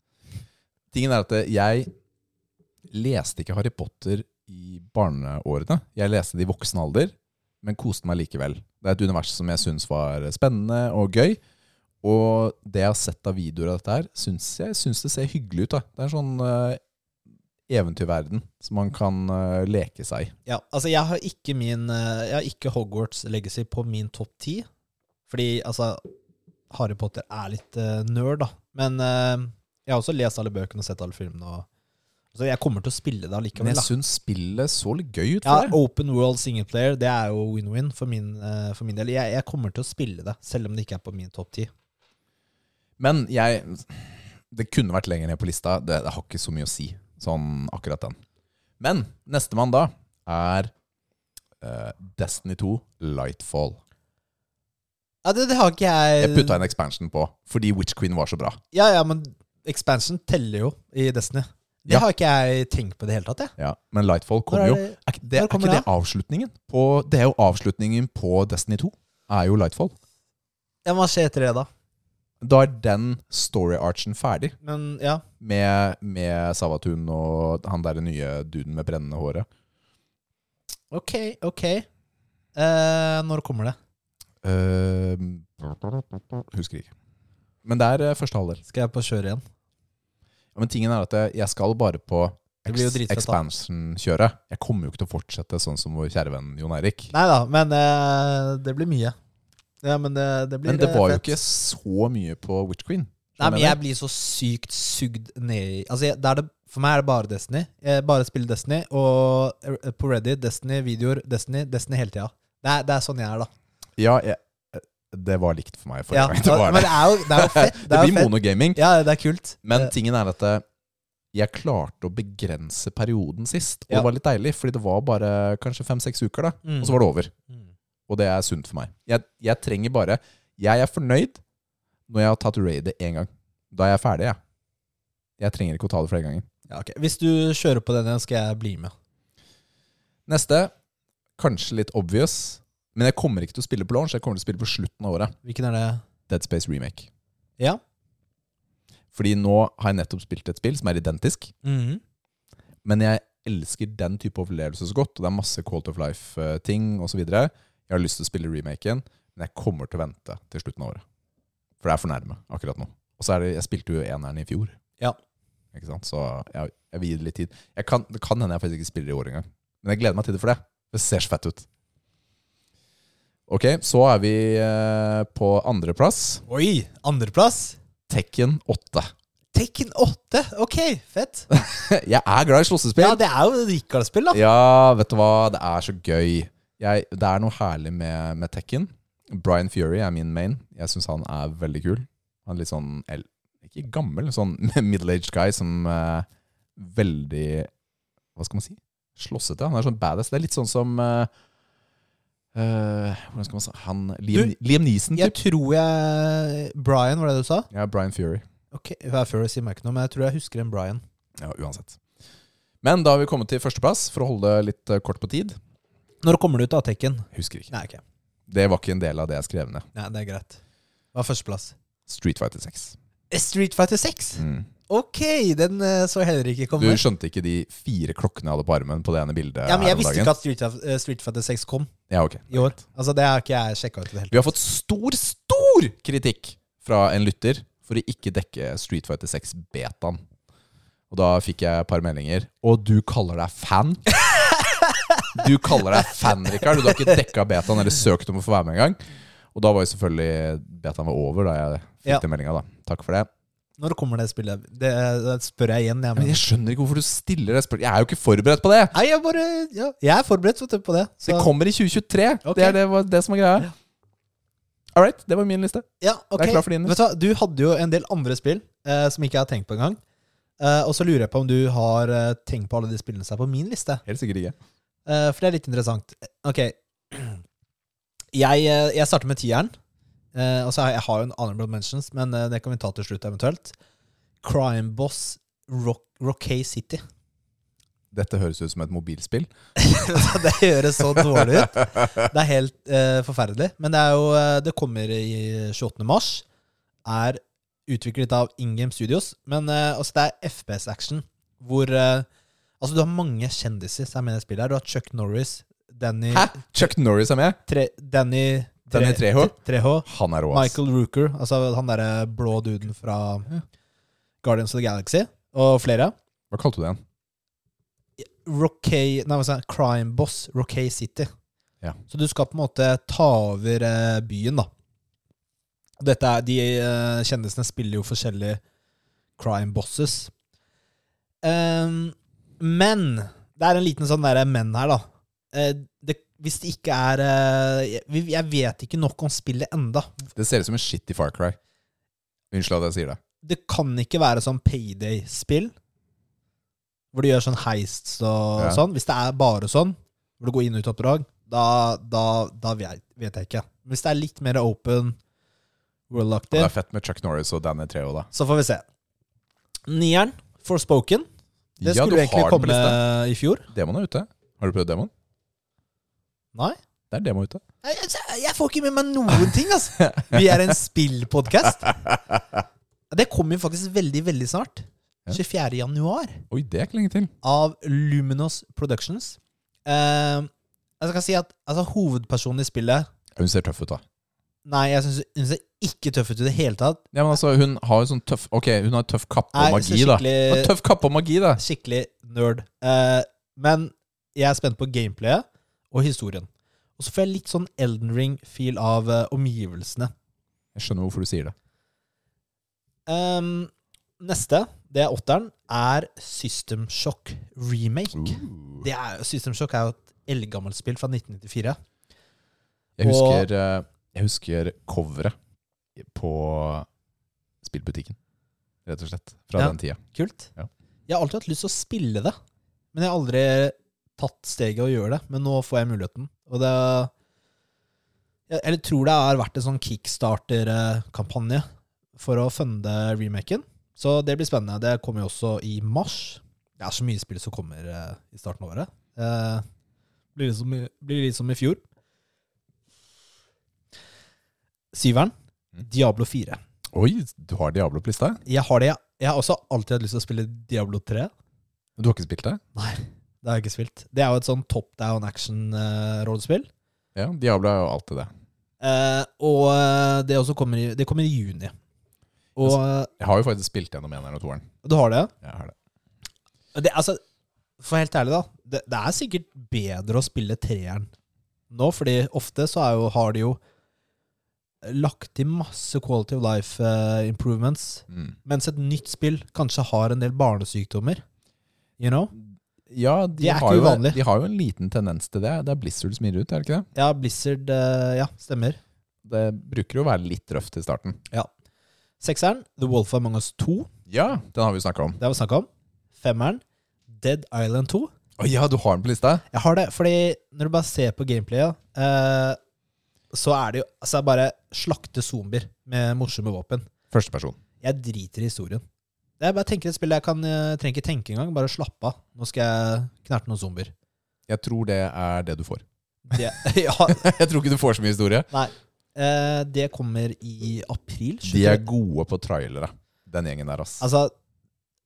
Tingen er at jeg leste ikke Harry Potter i barneårene. Jeg leste det i voksen alder, men koste meg likevel. Det er et univers som jeg syns var spennende og gøy. Og det jeg har sett av videoer av dette her, syns jeg syns det ser hyggelig ut. da. Det er en sånn eh, eventyrverden som man kan eh, leke seg i.
Ja, altså jeg har ikke min eh, Jeg har ikke Hogwarts Legacy på min topp ti. Fordi altså Harry Potter er litt eh, nerd, da. Men eh, jeg har også lest alle bøkene og sett alle filmene. Og, så jeg kommer til å spille det
Men
allikevel.
jeg
Da.
syns spillet så litt gøy ut.
Ja,
for det.
Open World Singleplayer, det er jo win-win for, min, eh, for min del. Jeg, jeg kommer til å spille det, selv om det ikke er på min topp ti.
Men jeg Det kunne vært lenger ned på lista. Det, det har ikke så mye å si, sånn akkurat den. Men nestemann da er eh, Destiny 2 Lightfall.
Ja, det, det har ikke jeg
Jeg putta en expansion på fordi Witch Queen var så bra.
Ja, ja, men expansion teller jo i Destiny. Det
Ja.
har ikke jeg tenkt på i det hele tatt, jeg.
Ja, Men Lightfall
Når
kommer
er
jo.
det-
Er, ikke- det,
når
er
kommer
ikke det
det
avslutningen? På, det er jo avslutningen på Destiny 2. Er jo Lightfall.
Ja, Hva skjer etter det, da?
Da er den story-archen ferdig,
Men ja.
med, med Savatun og han derre nye duden med brennende håret.
Ok, ok. Eh, når kommer det?
Eh, husker ikke. Men det er eh, første halvdel.
Skal jeg på kjøret igjen?
Ja, men tingen er at jeg- jeg skal bare på
Det blir jo
ex-
dritfett, da.
expansion-kjøret. Jeg kommer jo ikke til å fortsette sånn som vår kjære venn Jon Erik.
Nei da, men eh, det blir mye. Ja, men det, det blir
men det
eh,
var jo
fett.
ikke sånn så mye på Witch Queen.
Nei, men
Skjønner
jeg blir så sykt sugd ned i Altså, jeg, det er det, For meg er det bare Destiny. Jeg bare spiller Destiny, og eh, på Reddit, Destiny-videoer, Destiny, Destiny hele tida. Det er, det er sånn jeg er, da.
Ja, jeg, eh, det var likt for meg forrige
Ja,
gang. Det, var
men
det.
det er jo, det er jo fett.
det
Det er jo
blir
fett.
monogaming.
Ja, det er kult.
Men
Eh,
tingen er at eh, jeg klarte å begrense perioden sist, og
Ja.
det var litt deilig, fordi det var bare kanskje fem-seks uker, da.
Mm.
Og så var det over.
Mm.
Og det er sunt for meg. Jeg, jeg trenger bare Jeg er fornøyd når jeg har tatt raidet én gang. Da er jeg ferdig, jeg. Jeg trenger ikke å ta det flere ganger.
Ja, ok. Hvis du kjører på denne, skal jeg bli med.
Neste, kanskje litt obvious, men jeg kommer ikke til å spille på launch. Jeg kommer til å spille på slutten av året.
Hvilken er det?
Dead Space Remake.
Ja.
Fordi nå har jeg nettopp spilt et spill som er identisk,
Mhm.
men jeg elsker den type opplevelse så godt, og det er masse Call of Life-ting osv. Jeg har lyst til å spille remaken, men jeg kommer til å vente til slutten av året. For det er for nærme akkurat nå. Og så er det, jeg spilte jo eneren i fjor.
Ja.
Ikke sant? Så jeg, jeg vil gi det litt tid. Jeg kan, det kan hende jeg faktisk ikke spiller i år engang. Men jeg gleder meg til det for det. Det ser så fett ut. Ok, så er vi eh, på andreplass.
Oi! Andreplass?
Tekken 8.
Tekken 8! Ok, fett.
Jeg er glad i slåssespill.
Ja, det er jo Rikard-spill, da.
Ja, vet du hva? Det er så gøy. Jeg, det er noe herlig med, med Tekken. Brian Fury er min main. Jeg syns han er veldig kul. Han er litt sånn el- Ikke gammel, sånn middle-aged guy som eh, veldig Hva skal man si? Slåssete. Han er sånn badass. Det er litt sånn som eh, eh, Hvordan skal man si Han Liam,
Du,
Liam Neeson,
Jeg
typ.
tror jeg Brian, var det du sa?
Ja, Brian Fury.
Ok, Hva er før det sier meg ikke noe, men jeg tror jeg husker en Brian.
Ja, uansett. Men da har vi kommet til førsteplass, for å holde det litt eh, kort på tid.
Når kommer du ut av Tekken?
Husker ikke.
Nei, ok.
Det var ikke en del av det jeg skrev ned.
Nei, det er greit. Hva er førsteplass? Eh,
Street Fighter 6.
Street Fighter 6!
Mm.
Ok, den eh, så jeg heller ikke
Du
komme.
skjønte ikke de fire klokkene jeg hadde på armen på det ene bildet?
Ja, men
her
jeg
om
visste
dagen?
ikke at Street, eh, Street Fighter 6 kom
Ja, ok.
i år. Altså, Det har ikke jeg sjekka ut i det hele tatt.
Vi har fått stor, stor kritikk fra en lytter for å ikke dekke Street Fighter 6 betaen. Og da fikk jeg et par meldinger. Og du kaller deg fan? Du kaller deg fan, Rikard. Du har ikke dekka betaen eller søkt om å få være med engang. Og da var jo selvfølgelig betaen var over da jeg fikk
Ja.
den meldinga, da. Takk for det.
Når kommer det spillet? Det, eh, det spør jeg igjen. Jeg,
Men
mener.
jeg skjønner ikke hvorfor du stiller det spørsmålet. Jeg er jo ikke forberedt på det!
Nei, jeg bare ja, Jeg er forberedt vet du, på det. Så,
Det kommer i 2023.
Ok.
Det er det, var det som er greia. All right, det var min liste.
ja, ok.
Jeg er klar for din.
Vet du hva, du hadde jo en del andre spill eh, som ikke jeg har tenkt på engang. Eh, og så lurer jeg på om du har eh, tenkt på alle de spillene som er på min liste.
Helt sikkert ikke.
Eh, for det er litt interessant. Eh, Ok. Jeg, eh, jeg starter med tieren. Eh, og så har jeg, jeg har jo en honorable mentions, men eh, det kan vi ta til slutt eventuelt. Crime Boss Rock, Rockay City.
Dette høres ut som et mobilspill.
det høres så dårlig ut. Det er helt eh, forferdelig. Men det er jo eh, Det kommer i 28. mars. Er utviklet av Ingame Studios. Men eh, altså, det er FPS action hvor eh, Altså, du har mange kjendiser som er med i det spillet. her Du har Chuck Norris, Danny
Hæ? Chuck Norris er med?
Tre, Danny, Tre-
Danny Trejo?
Trejo.
Han er rå, ass.
Michael Rooker, altså han derre blå duden fra Guardians of the Galaxy, og flere.
Hva kalte du den?
Rockay, nei, hva sa jeg, crime boss, Rockay City.
Ja.
Så du skal på en måte ta over eh, byen, da. Og Dette er, de eh, kjendisene spiller jo forskjellige crime bosses. Ehm, men det er en liten sånn derre men her, da. Eh, det, hvis det ikke er eh, jeg, vi- jeg vet ikke nok om spillet enda.
Det ser ut som en shitty Far Cry. Unnskyld at jeg sier det.
det kan ikke være sånn payday-spill, hvor du gjør sånn heists og
Ja.
sånn. Hvis det er bare sånn, hvor du går inn og ut oppdrag, da, da, da vet, vet jeg ikke. Men Hvis det er litt mer open
Det
world-aktig,
er fett med Chuck Norris og Danny Trejo, da.
så får vi se. Nieren, Forspoken, det
ja, du
skulle jo egentlig
har den på
komme
lista.
i fjor.
Demon er ute. Har du prøvd demon?
Nei.
Det er demo ute.
Jeg, jeg- jeg får ikke med meg noen ting, altså. Vi er en spillpodkast. Det kommer jo faktisk veldig, veldig snart.
Ja.
24. januar.
Oi, det er ikke lenge til.
av Luminos Productions. Eh, jeg skal si at altså, hovedpersonen i spillet
Ja, Hun ser tøff ut, da.
Nei, jeg syns hun ser ikke tøff ut i det hele tatt.
Ja, men altså, hun har jo sånn tøff Ok, hun har tøff kappe
Nei,
og
hun
magi,
ser
da. Hun har
skikkelig,
tøff kappe og magi, da.
skikkelig nerd. Eh, men jeg er spent på gameplayet og historien. Og så får jeg litt sånn Elden Ring-feel av eh, omgivelsene.
Jeg skjønner hvorfor du sier det.
Ehm, neste, det er åtteren, er System Shock Remake. Det er, System Shock er jo et eldgammelt spill fra 1994.
Jeg
Og-
husker, eh, jeg husker coveret på spillbutikken, rett og slett, fra
Ja.
den tida.
Kult.
Ja.
Jeg har alltid hatt lyst til å spille det, men jeg har aldri tatt steget og gjøre det. Men nå får jeg muligheten. Og det jeg, Eller tror det har vært en sånn kickstarter-kampanje for å funde remaken. Så det blir spennende. Det kommer jo også i mars. Det er så mye spill som kommer eh, i starten av året. Eh, blir, litt som, i- blir litt som i fjor. Syveren.
Mm.
Diablo 4.
Oi, du har Diablo på lista?
Jeg har det. Jeg har også alltid hatt lyst til å spille Diablo 3.
Du har ikke spilt det?
Nei, det har jeg ikke spilt. Det er jo et sånn top down action-rollespill.
Ja, Diablo er jo alltid det.
og eh, det, også kommer i, det kommer i juni. Og eh,
Jeg har jo faktisk spilt gjennom eneren og toeren.
du har det?
Jeg har det.
Og det altså, for å være helt ærlig, da. Det, det er sikkert bedre å spille treeren nå, fordi ofte så er jo, har de jo lagt til masse quality of life eh, improvements,
Mm.
mens et nytt spill kanskje har en del barnesykdommer. You know?
Ja, de,
Det er
har
ikke
jo,
uvanlig.
de har jo en liten tendens til det. Det er Blizzard som gir ut, er det ikke det?
Ja, Blizzard eh, Ja, stemmer.
Det bruker jo å være litt røft i starten.
Sekseren, The Wolf Among Us 2.
Ja, den har vi snakka om.
Det har vi snakka om. Femmeren, Dead Island 2.
Å ja, du har den på lista?
Jeg har det, fordi når du bare ser på gameplayet, eh, så er det jo altså bare slakte zombier med morsomme våpen.
Førsteperson.
Jeg driter i historien. Jeg bare tenker et spill jeg kan, eh, trenger ikke tenke engang. Bare slappe av. Nå skal jeg knerte noen zombier.
Jeg tror det er det du får.
Det, ja,
Jeg tror ikke du får så mye historie.
eh, det kommer i april.
De er gode på trailere, den gjengen der, ass.
Altså,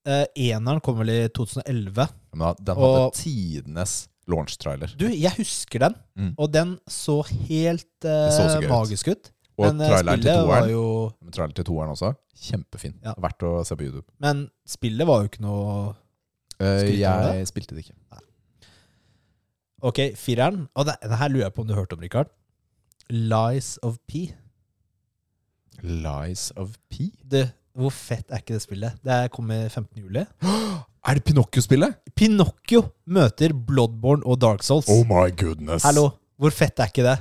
eh, eneren kom vel i 2011.
Men da, den hadde
og-
tidenes launch-trailer.
Du, jeg husker den,
Mm.
og den så helt eh,
Det så så gøy ut.
magisk ut.
Og
Men, eh,
traileren til
spillet var
toeren.
jo,
Men Trailer til toeren også. Kjempefin.
Ja.
Verdt å se på YouTube.
men spillet var jo ikke noe
Eh,
Skryter du av
jeg spilte det ikke.
Ok, fireren. Og det, det her lurer jeg på om du hørte om, Rikard. Lies of P.
Lies of P?
Du, hvor fett er ikke det spillet? Det her kommer 15. juli.
Er det Pinocchio-spillet?
Pinocchio møter Bloodborne og Dark Souls.
Oh my goodness.
Hallo, hvor fett er ikke det?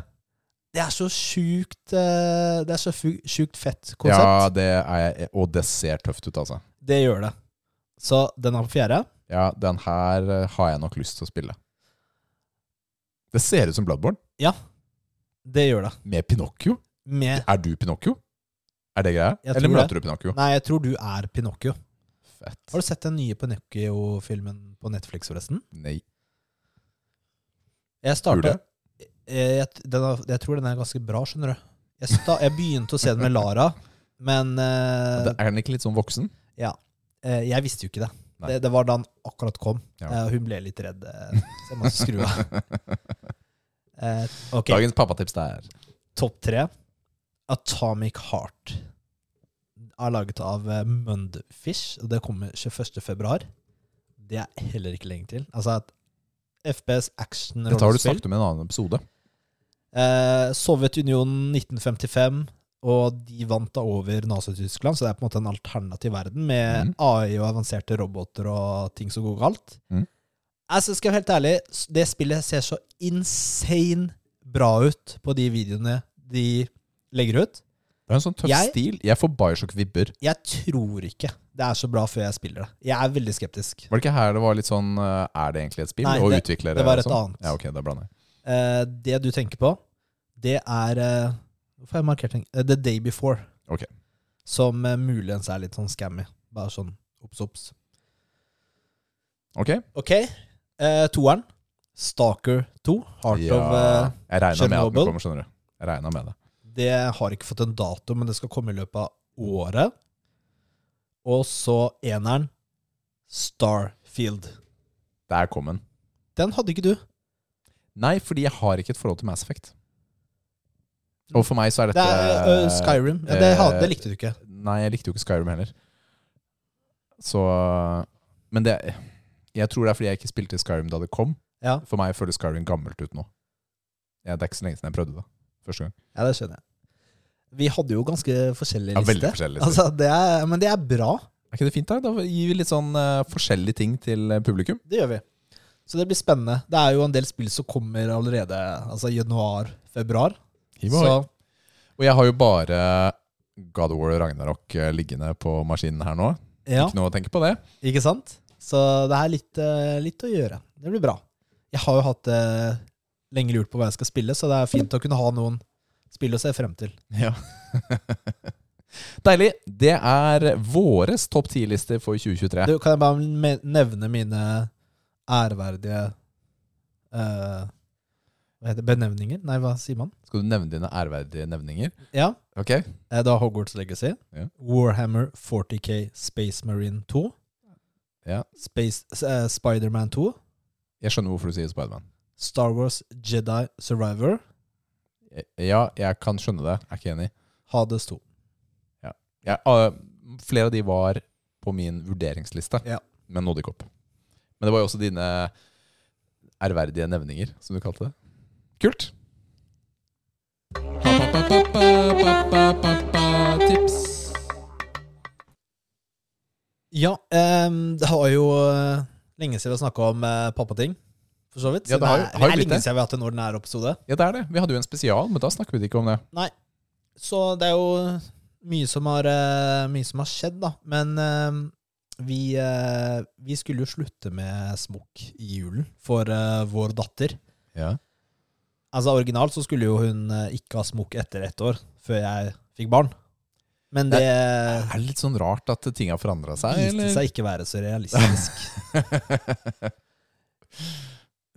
Det er så sjukt eh, Det er så fu- sjukt fett konsept.
Ja, det er jeg, og det ser tøft ut, altså.
Det gjør det. Så den er på fjerde.
Ja, den her eh, har jeg nok lyst til å spille. Det ser ut som Bloodborne,
Det gjør det.
med Pinocchio.
Med
Er du Pinocchio? Er det greia?
Jeg
Eller
tror
møter du Pinocchio?
Nei, jeg tror du er Pinocchio.
fett.
Har du sett den nye Pinocchio-filmen på Netflix, forresten?
Nei,
Jeg
burde.
starta Eh, Jeg, den er, jeg tror den er ganske bra, skjønner du. Jeg, sta, jeg begynte å se den med Lara, men eh,
Er den ikke litt sånn voksen?
eh, jeg visste jo ikke det.
Nei.
Det, det var da han akkurat kom.
Ja.
Eh, og hun ble litt redd, eh, så jeg måtte skru av. Eh, ok,
Dagens pappatips det er
topp tre. Atomic Heart er laget av eh, Mundfish, og det kommer 21. februar. Det er heller ikke lenge til. Altså et FPS
Dette har du
action-rollespill.
snakket om i en annen episode.
Eh, Sovjetunionen 1955, og de vant da over Nazi-Tyskland, så det er på en måte en alternativ verden med
Mhm.
AI og avanserte roboter og ting som går galt.
Mhm.
Altså, skal jeg være helt ærlig, s- det spillet ser så insane bra ut på de videoene de legger ut.
Det er en sånn tøff
Jeg-
stil. Jeg får Bioshock-vibber.
Jeg tror ikke det er så bra før jeg spiller det. Jeg er veldig skeptisk.
Var det ikke her det var litt sånn eh, Er det egentlig et spill?
Nei,
og
det-
utviklere
det var
og
et
sånn?
annet.
Ja, ok, da blander jeg.
Eh, det du tenker på, det er eh, Hvorfor har jeg markert ting? Eh, The Day Before.
Ok.
Som eh, muligens er litt sånn scammy. Bare sånn obs, obs.
Ok?
Ok. Eh, toeren. Stalker 2. Heart
ja,
of eh,
Jeg regna med at
Chernobyl.
den kommer, skjønner du. Jeg regnet med det.
Det har ikke fått en dato, men det skal komme i løpet av året. Og så eneren. Starfield.
Der kom den.
Den hadde ikke du.
Nei, fordi jeg har ikke et forhold til Mass Effect. Og for meg så er
Det
dette
er eh, Skyrim. Ja, det, ha-
eh,
det likte du ikke.
Nei, jeg likte jo ikke Skyrim heller. Så Men det Jeg tror det er fordi jeg ikke spilte Skyrim da det kom.
Ja.
For meg føles Skyrim gammelt ut nå. Ja, det er ikke så lenge siden jeg prøvde det. Første gang.
Ja, det skjønner jeg. Vi hadde jo ganske forskjellige
Ja, veldig
lister.
forskjellig.
Altså, det er, men det er bra.
Er ikke det fint, da? Da gir vi litt sånn eh, forskjellige ting til eh, publikum.
Det gjør vi. Så det blir spennende. Det er jo en del spill som kommer allerede altså januar-februar. Så
Og jeg har jo bare God of War og Ragnarok eh, liggende på maskinen her nå.
ja,
Ikke noe å tenke på det.
ikke sant? Så det er litt, eh, litt å gjøre. Det blir bra. Jeg har jo hatt eh, lenge lurt på hva jeg skal spille, så det er fint å kunne ha noen spill å se frem til.
Ja. Deilig. Det er våres topp 10-lister for 2023.
Du, kan jeg bare me- nevne mine æreverdige eh, Hva heter det? Benevninger? Nei, hva sier man?
Skal du nevne dine ærverdige nevninger?
Ja.
Ok.
Eh, Da Hogwarts Legacy.
Ja.
Warhammer 40K Space Marine 2.
Ja.
Space, eh, Spiderman 2.
Jeg skjønner hvorfor du sier Spiderman.
Star Wars Jedi Survivor.
Ja, jeg kan skjønne det. Jeg er ikke enig.
Hades 2.
Jeg, ah, flere av de var på min vurderingsliste,
Ja.
men nådde ikke opp. Men det var jo også dine ærverdige nevninger, som du kalte det. Kult! Tips.
Ja, ehm, det har jo eh, lenge siden vi har snakka om eh, pappating, for så vidt.
Ja, det har jo-
er-
har jo
er
blitt
lenge
det.
siden vi har hatt en ordinær episode.
Ja, det er det. Vi hadde jo en spesial, men da snakket vi ikke om det.
Så det er jo mye som har, eh, mye som har skjedd, da. Men ehm, vi, eh, vi skulle jo slutte med smokk i julen for eh, vår datter.
Ja.
Altså Originalt så skulle jo hun eh, ikke ha smokk etter ett år, før jeg fikk barn. Men
Det
det
Er det litt sånn rart at ting har forandra seg?
viste
eller?
seg ikke være så realistisk.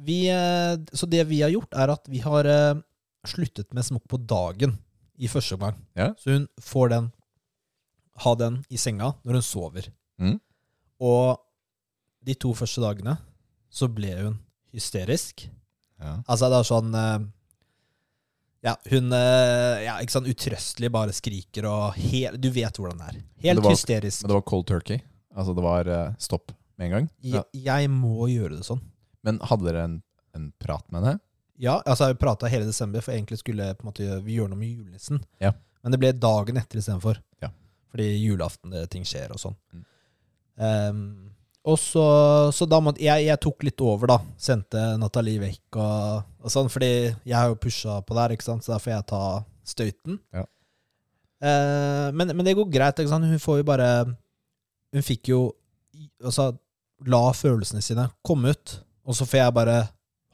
Vi, eh, så det vi har gjort, er at vi har eh, sluttet med smokk på dagen i første omgang.
Ja.
Så hun får den, ha den i senga når hun sover.
Mm.
Og de to første dagene så ble hun hysterisk.
Ja.
Altså, det er sånn eh, Ja, hun eh, ja, ikke sånn utrøstelig bare skriker og hel, Du vet hvordan det er.
det
Helt
var-
hysterisk.
Men det var cold turkey. Altså det var eh, stopp med en gang.
Jeg, jeg må gjøre det sånn.
Men hadde dere en, en prat med henne?
Ja, altså jeg prata hele desember, for egentlig skulle jeg på en måte gjøre- vi gjøre noe med julenissen.
Ja.
Men det ble dagen etter istedenfor.
Ja.
Fordi julaften eh, ting skjer og sånn.
Mm.
Ehm, og så, så da måtte jeg, jeg tok litt over, da. Sendte Nathalie vekk og, og sånn, fordi jeg har jo pusha på der, ikke sant? så da får jeg ta støyten.
Ja.
Eh, men, men det går greit. Ikke sant? Hun får jo bare Hun fikk jo Altså, la følelsene sine komme ut, og så får jeg bare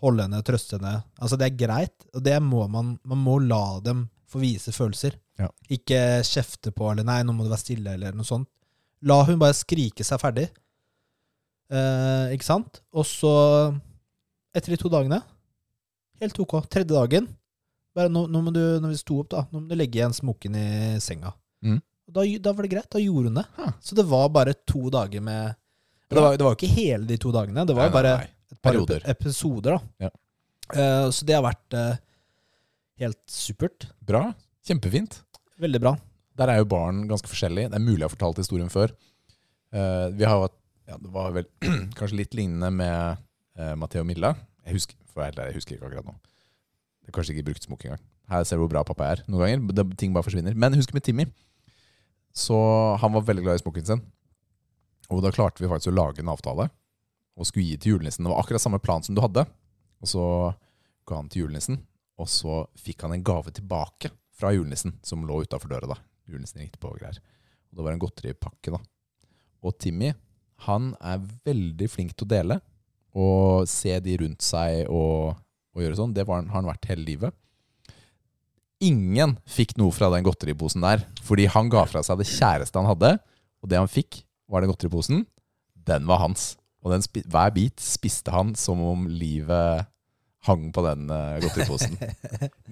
holde henne, trøste henne. Altså, det er greit, og det må man Man må la dem få vise følelser.
Ja.
Ikke kjefte på eller 'nei, nå må du være stille', eller noe sånt. La hun bare skrike seg ferdig. Eh, ikke sant? Og så, etter de to dagene Helt OK. Tredje dagen bare nå, nå må du, Når vi sto opp, da, nå må du legge igjen smokken i senga.
Mm.
Og Da, da var det greit. Da gjorde hun det.
Huh.
Så det var bare to dager med Det
Bra.
var, det var jo ikke hele de to dagene. Det var jo bare et par
Perioder.
episoder, da. Eh, så det har vært eh, helt supert.
Bra. Kjempefint.
Veldig bra.
Der er jo barn ganske forskjellige. Det er mulig jeg har fortalt historien før. Eh, vi har jo hatt ja, Det var vel kanskje litt lignende med uh, Matheo og Milla. Jeg husker, for å være helt ærlig, jeg husker ikke akkurat nå. Jeg har kanskje ikke brukt smokk engang. Her ser du hvor bra pappa er noen ganger. Det, ting bare forsvinner. Men jeg husker med Timmy. Så han var veldig glad i smokken sin. Og da klarte vi faktisk å lage en avtale og skulle gi til julenissen. Det var akkurat samme plan som du hadde. Og så ga han til julenissen, og så fikk han en gave tilbake fra julenissen, som lå utafor døra da julenissen ringte på og greier. Og det var en godteripakke, da. Og Timmy, han er veldig flink til å dele og se de rundt seg og, og gjøre sånn. Det var, han- har han vært hele livet. Ingen fikk noe fra den godteriposen der, fordi han ga fra seg det kjæreste han hadde, og det han fikk, var den godteriposen. Den var hans. Og den, spi- hver bit spiste han som om livet hang på den eh, godteriposen.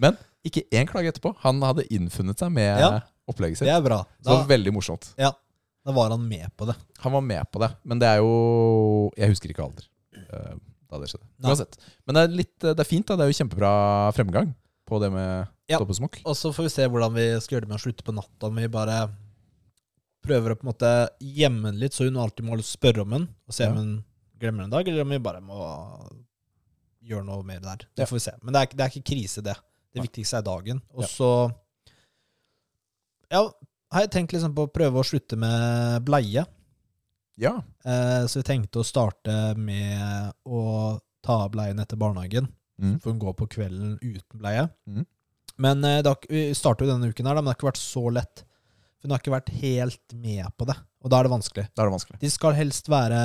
Men ikke én klage etterpå. Han hadde innfunnet seg med
Ja.
opplegget sitt.
Det er bra.
Så
Da,
det var veldig morsomt.
ja, da var han med på det.
Han var med på det, men det er jo Jeg husker ikke alder eh, da det skjedde.
Nei.
Uansett. Men det er, litt, eh, det er fint, da. Det er jo kjempebra fremgang på det med
Ja.
dobbeltsmokk.
Og så får vi se hvordan vi skal gjøre det med å slutte på natta. Om vi bare prøver å på en måte gjemme den litt, så hun alltid må spørre om den, og se om
Ja.
hun glemmer den en dag, eller om vi bare må gjøre noe mer der.
Ja.
Det får vi se. Men det er, ikke- det er ikke krise, det. Det
Nei.
viktigste er dagen. Og
Ja.
så Ja, har jeg tenkt liksom på å prøve å slutte med bleie.
Ja.
Eh, Så vi tenkte å starte med å ta av bleien etter barnehagen.
Mm.
For hun går på kvelden uten bleie.
Mm.
Men eh, det har, ikke- vi starter jo denne uken her, da, men det har ikke vært så lett. Hun har ikke vært helt med på det, og da er det vanskelig.
Da er det vanskelig.
De skal helst være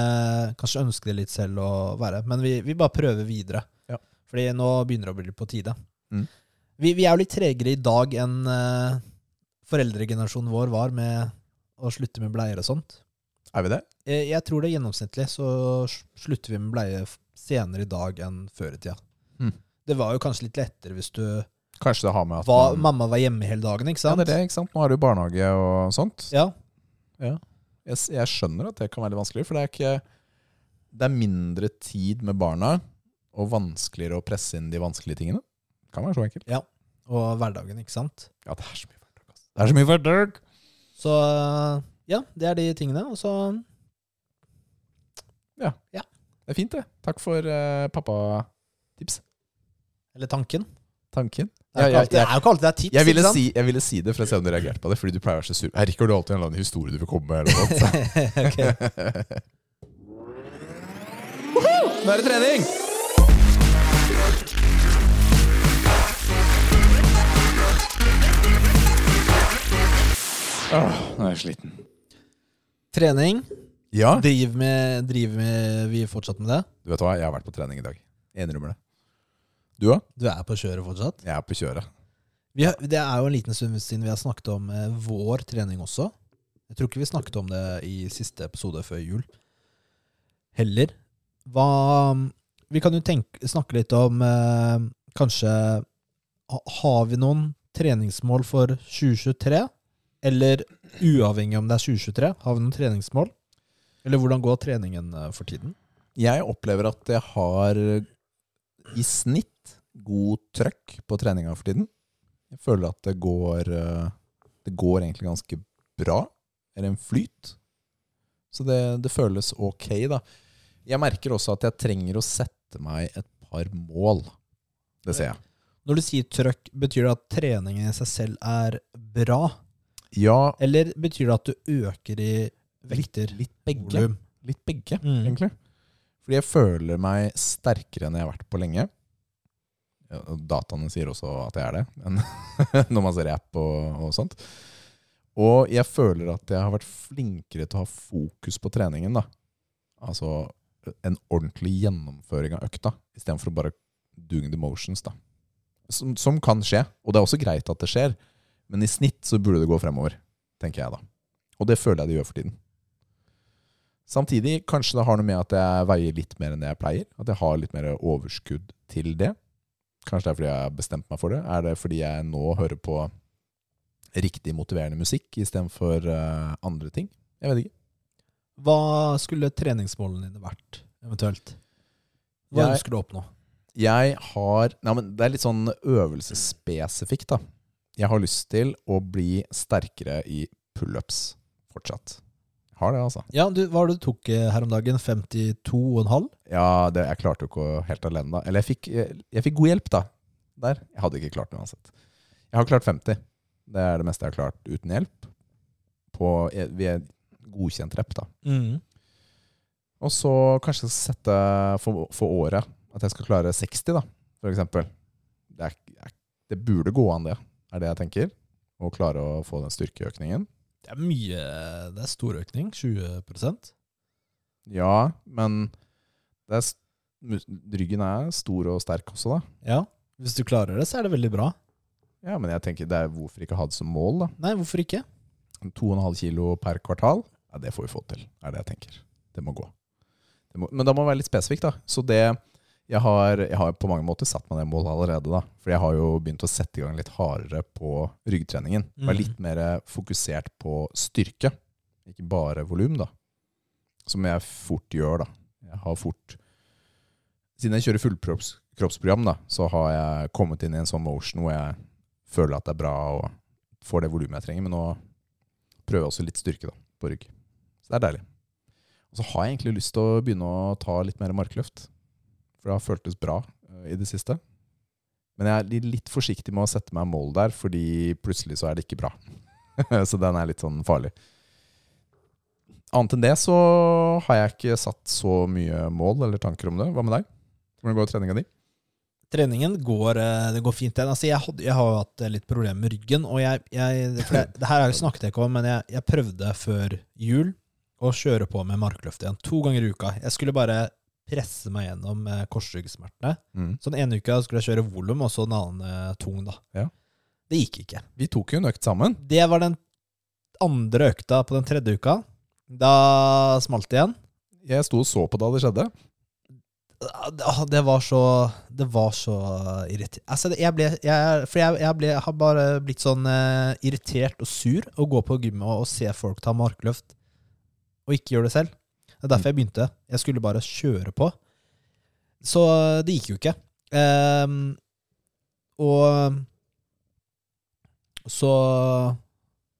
Kanskje ønske det litt selv å være, men vi, vi bare prøver videre.
Ja.
Fordi nå begynner det å bli litt på tide.
Mm.
Vi, vi er jo litt tregere i dag enn eh, foreldregenerasjonen vår var med å slutte med bleier og sånt.
Er vi det?
Eh, Jeg tror det er gjennomsnittlig, så s- slutter vi med bleie f- senere i dag enn før i tida.
Mm.
Det var jo kanskje litt lettere hvis du
Kanskje det har med at
var,
man,
Mamma var hjemme hele dagen, ikke
ja,
sant?
det er det, ikke sant? Nå er det jo barnehage og sånt.
Ja,
Jeg, s- jeg skjønner at det kan være litt vanskelig, for det er ikke Det er mindre tid med barna, og vanskeligere å presse inn de vanskelige tingene. Det kan være så enkelt.
og hverdagen, ikke sant?
Ja, det er så mye hverdag. ass. Det er så mye hverdag!
Så ja, det er de tingene. Og så
Det er fint, det. Takk for eh, pappatips.
Eller tanken.
Tanken.
Det er jo
Ja,
ikke
jeg-
alltid det er, jo ikke alltid det er tips.
Jeg ville,
ikke sant?
si, jeg ville si det for å se om du reagerte på det, fordi du pleier å være så sur. Her ikke har du alltid en eller annen historie du vil komme med. Eller noe sånt.
Ok.
Nå er det trening! Åh, nå er jeg sliten.
Trening.
Ja,
Driver, med, driver med, vi fortsatt med det?
du vet hva, jeg har vært på trening i dag. Enrømmer det. Du òg?
Du er på kjøret fortsatt?
Jeg er på kjøret.
Vi har, det er jo en liten stund siden vi har snakket om eh, vår trening også. Jeg tror ikke vi snakket om det i siste episode før jul. Heller. Hva, vi kan jo tenke, snakke litt om eh, kanskje ha- Har vi noen treningsmål for 2023? Eller uavhengig om det er 2023, har vi noen treningsmål? Eller hvordan går treningen eh, for tiden?
Jeg opplever at jeg har eh, i snitt god trøkk på treninga for tiden. Jeg føler at det går eh, Det går egentlig ganske bra. Eller en flyt. Så det, det føles ok, da. Jeg merker også at jeg trenger å sette meg et par mål. Det ser jeg.
Når du sier trøkk, betyr det at treningen i seg selv er bra?
Ja,
Eller betyr det at du øker i vekter?
litt begge.
Volum.
Litt begge,
Mm.
egentlig. Fordi jeg føler meg sterkere enn jeg har vært på lenge. Ja, og Dataene sier også at jeg er det, men når man ser app og, og sånt. Og jeg føler at jeg har vært flinkere til å ha fokus på treningen. da. Altså en ordentlig gjennomføring av økta, istedenfor å bare doing the motions. da. Som, som kan skje, og det er også greit at det skjer, men i snitt så burde det gå fremover, tenker jeg da. Og det føler jeg det gjør for tiden. Samtidig, kanskje det har noe med at jeg veier litt mer enn det jeg pleier. At jeg har litt mer overskudd til det. Kanskje det er fordi jeg har bestemt meg for det. Er det fordi jeg nå hører på riktig motiverende musikk istedenfor uh, andre ting? Jeg vet ikke.
Hva skulle treningsmålene dine vært, eventuelt? Hva
Jeg-
ønsker du å oppnå?
Jeg har Nei, men det er litt sånn øvelsesspesifikt, da. Jeg har lyst til å bli sterkere i pullups fortsatt. Jeg Har det, altså.
Ja, du, hva var det du tok eh, her om dagen? 52,5?
Ja, det, jeg klarte jo ikke å- helt alene da. Eller jeg fikk, jeg, jeg fikk god hjelp da. Der. Jeg hadde ikke klart det uansett. Jeg har klart 50. Det er det meste jeg har klart uten hjelp. På, jeg- vi er godkjent rep da.
Mm.
Og så kanskje jeg skal sette for, for året at jeg skal klare 60 da, for eksempel. Det, er, det er- det burde gå an det, er det jeg tenker. Å klare å få den styrkeøkningen.
Det er mye Det er stor økning. 20
Ja, men det er, s- mus- ryggen er stor og sterk også da.
Ja. Hvis du klarer det, så er det veldig bra.
Ja, men jeg tenker det er hvorfor ikke ha det som mål da.
Nei, hvorfor ikke?
2,5 kilo per kvartal, ja, det får vi få til, er det jeg tenker. Det må gå. Det må, men da må det være litt spesifikt, da. Så det jeg har, jeg har på mange måter satt meg det målet allerede, da. For jeg har jo begynt å sette i gang litt hardere på ryggtreningen.
Mhm.
Være litt mer fokusert på styrke, ikke bare volum, da. Som jeg fort gjør, da. Jeg har fort Siden jeg kjører fullkroppsprogram, da, så har jeg kommet inn i en sånn motion hvor jeg føler at det er bra og får det volumet jeg trenger. Men nå prøver jeg også litt styrke da, på rygg. Så det er deilig. Og så har jeg egentlig lyst til å begynne å ta litt mer markløft. For det har føltes bra eh, i det siste. Men jeg er li- litt forsiktig med å sette meg mål der, fordi plutselig så er det ikke bra. så den er litt sånn farlig. Annet enn det så har jeg ikke satt så mye mål eller tanker om det. Hva med deg? Hvordan går treninga di?
Treningen går, eh, det går fint. den. Altså, jeg, hadde, jeg har jo hatt eh, litt problemer med ryggen. Og jeg, jeg, for det, det her har jeg snakket jeg ikke om, men jeg, jeg prøvde før jul å kjøre på med markløft igjen. To ganger i uka. Jeg skulle bare presse meg gjennom eh, korsryggsmertene.
Mm.
Så den ene uka skulle jeg kjøre volum, og så den andre eh, tung, da.
Ja.
Det gikk ikke.
Vi tok jo en økt sammen.
Det var den andre økta på den tredje uka. Da smalt det igjen.
Jeg sto og så på da det skjedde.
Ah, Det var så Det var så irriterende. Altså, det- jeg ble, jeg, for jeg, jeg, ble, jeg har bare blitt sånn eh, irritert og sur å gå på gymmet og, og se folk ta markløft og ikke gjøre det selv. Det er derfor jeg begynte. Jeg skulle bare kjøre på. Så det gikk jo ikke. Ehm, og um, så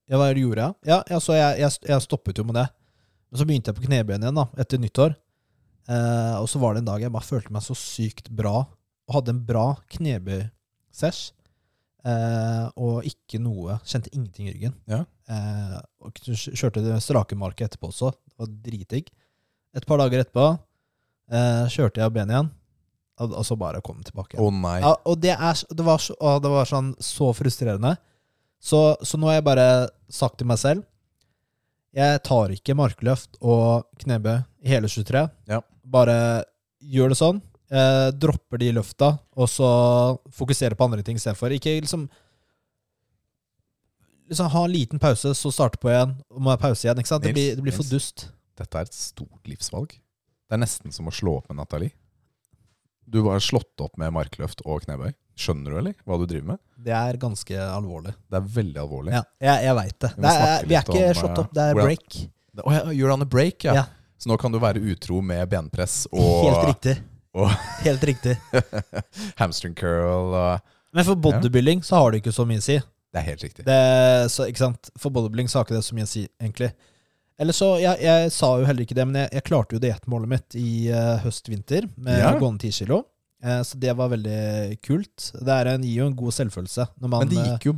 Ja, hva gjorde jeg? Ja, ja, så jeg, jeg, jeg stoppet jo med det. Men så begynte jeg på knebøyen igjen da, etter nyttår. Eh, og så var det en dag jeg bare følte meg så sykt bra, og hadde en bra knebøy-sesh. Eh, og ikke noe Kjente ingenting i ryggen.
Ja.
Eh, og kj- kjørte det strake market etterpå også. Det var dritdigg. Et par dager etterpå eh, kjørte jeg av benet igjen, og, og så bare kom det tilbake.
Å nei.
Ja, og det, er, s- det, var, så- å, det var sånn så frustrerende. Så, så nå har jeg bare sagt til meg selv Jeg tar ikke markløft og knebøy i hele 23.
Ja.
Bare gjør det sånn. Eh, dropper de løfta, og så fokuserer på andre ting istedenfor. Ikke liksom Liksom Ha en liten pause, så starte på igjen. og Må ha pause igjen. ikke sant? Det
Nils,
blir, det blir for
Nils.
dust.
Dette er et stort livsvalg. Det er nesten som å slå opp med Nathalie. Du var slått opp med markløft og knebøy. Skjønner du, eller? Hva du driver med?
Det er ganske alvorlig.
Det er veldig alvorlig.
Ja, jeg jeg veit det.
Vi må
det er,
snakke
vi er
litt
ikke
om,
slått
eh,
opp, det er
hvordan-
break.
Å ja, you're on a break, ja.
Ja.
Så nå kan du være utro med benpress
Helt
og
riktig.
og-
Helt riktig.
hamstring curl. Og
Men for bodybuilding så har det ikke så mye å si.
det er helt riktig.
Det, så, ikke sant? For bodybuilding så har ikke det så mye å si, egentlig. Eller så, jeg, jeg sa jo heller ikke det, men jeg, jeg klarte jo diettmålet mitt i eh, høst-vinter med
Ja.
gående 10 kilo. Eh, så det var veldig kult. Det er en, gir jo en god selvfølelse når man,
Men det
eh,
gikk jo,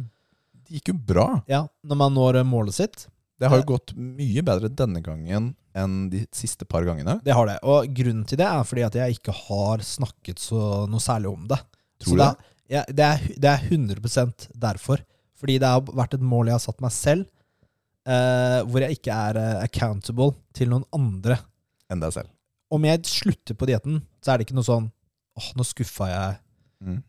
det gikk jo bra.
ja, når man når eh, målet sitt.
Det har jo gått mye bedre denne gangen enn de siste par gangene.
Det har det. Og grunnen til det er fordi at jeg ikke har snakket så noe særlig om det.
Tror
så
du
det? er- Ja, det, er, det er 100 derfor. Fordi det har vært et mål jeg har satt meg selv, eh, hvor jeg ikke er eh, accountable til noen andre.
Enn deg selv.
Om jeg slutter på dietten, så er det ikke noe sånn åh, nå skuffa jeg
Mm.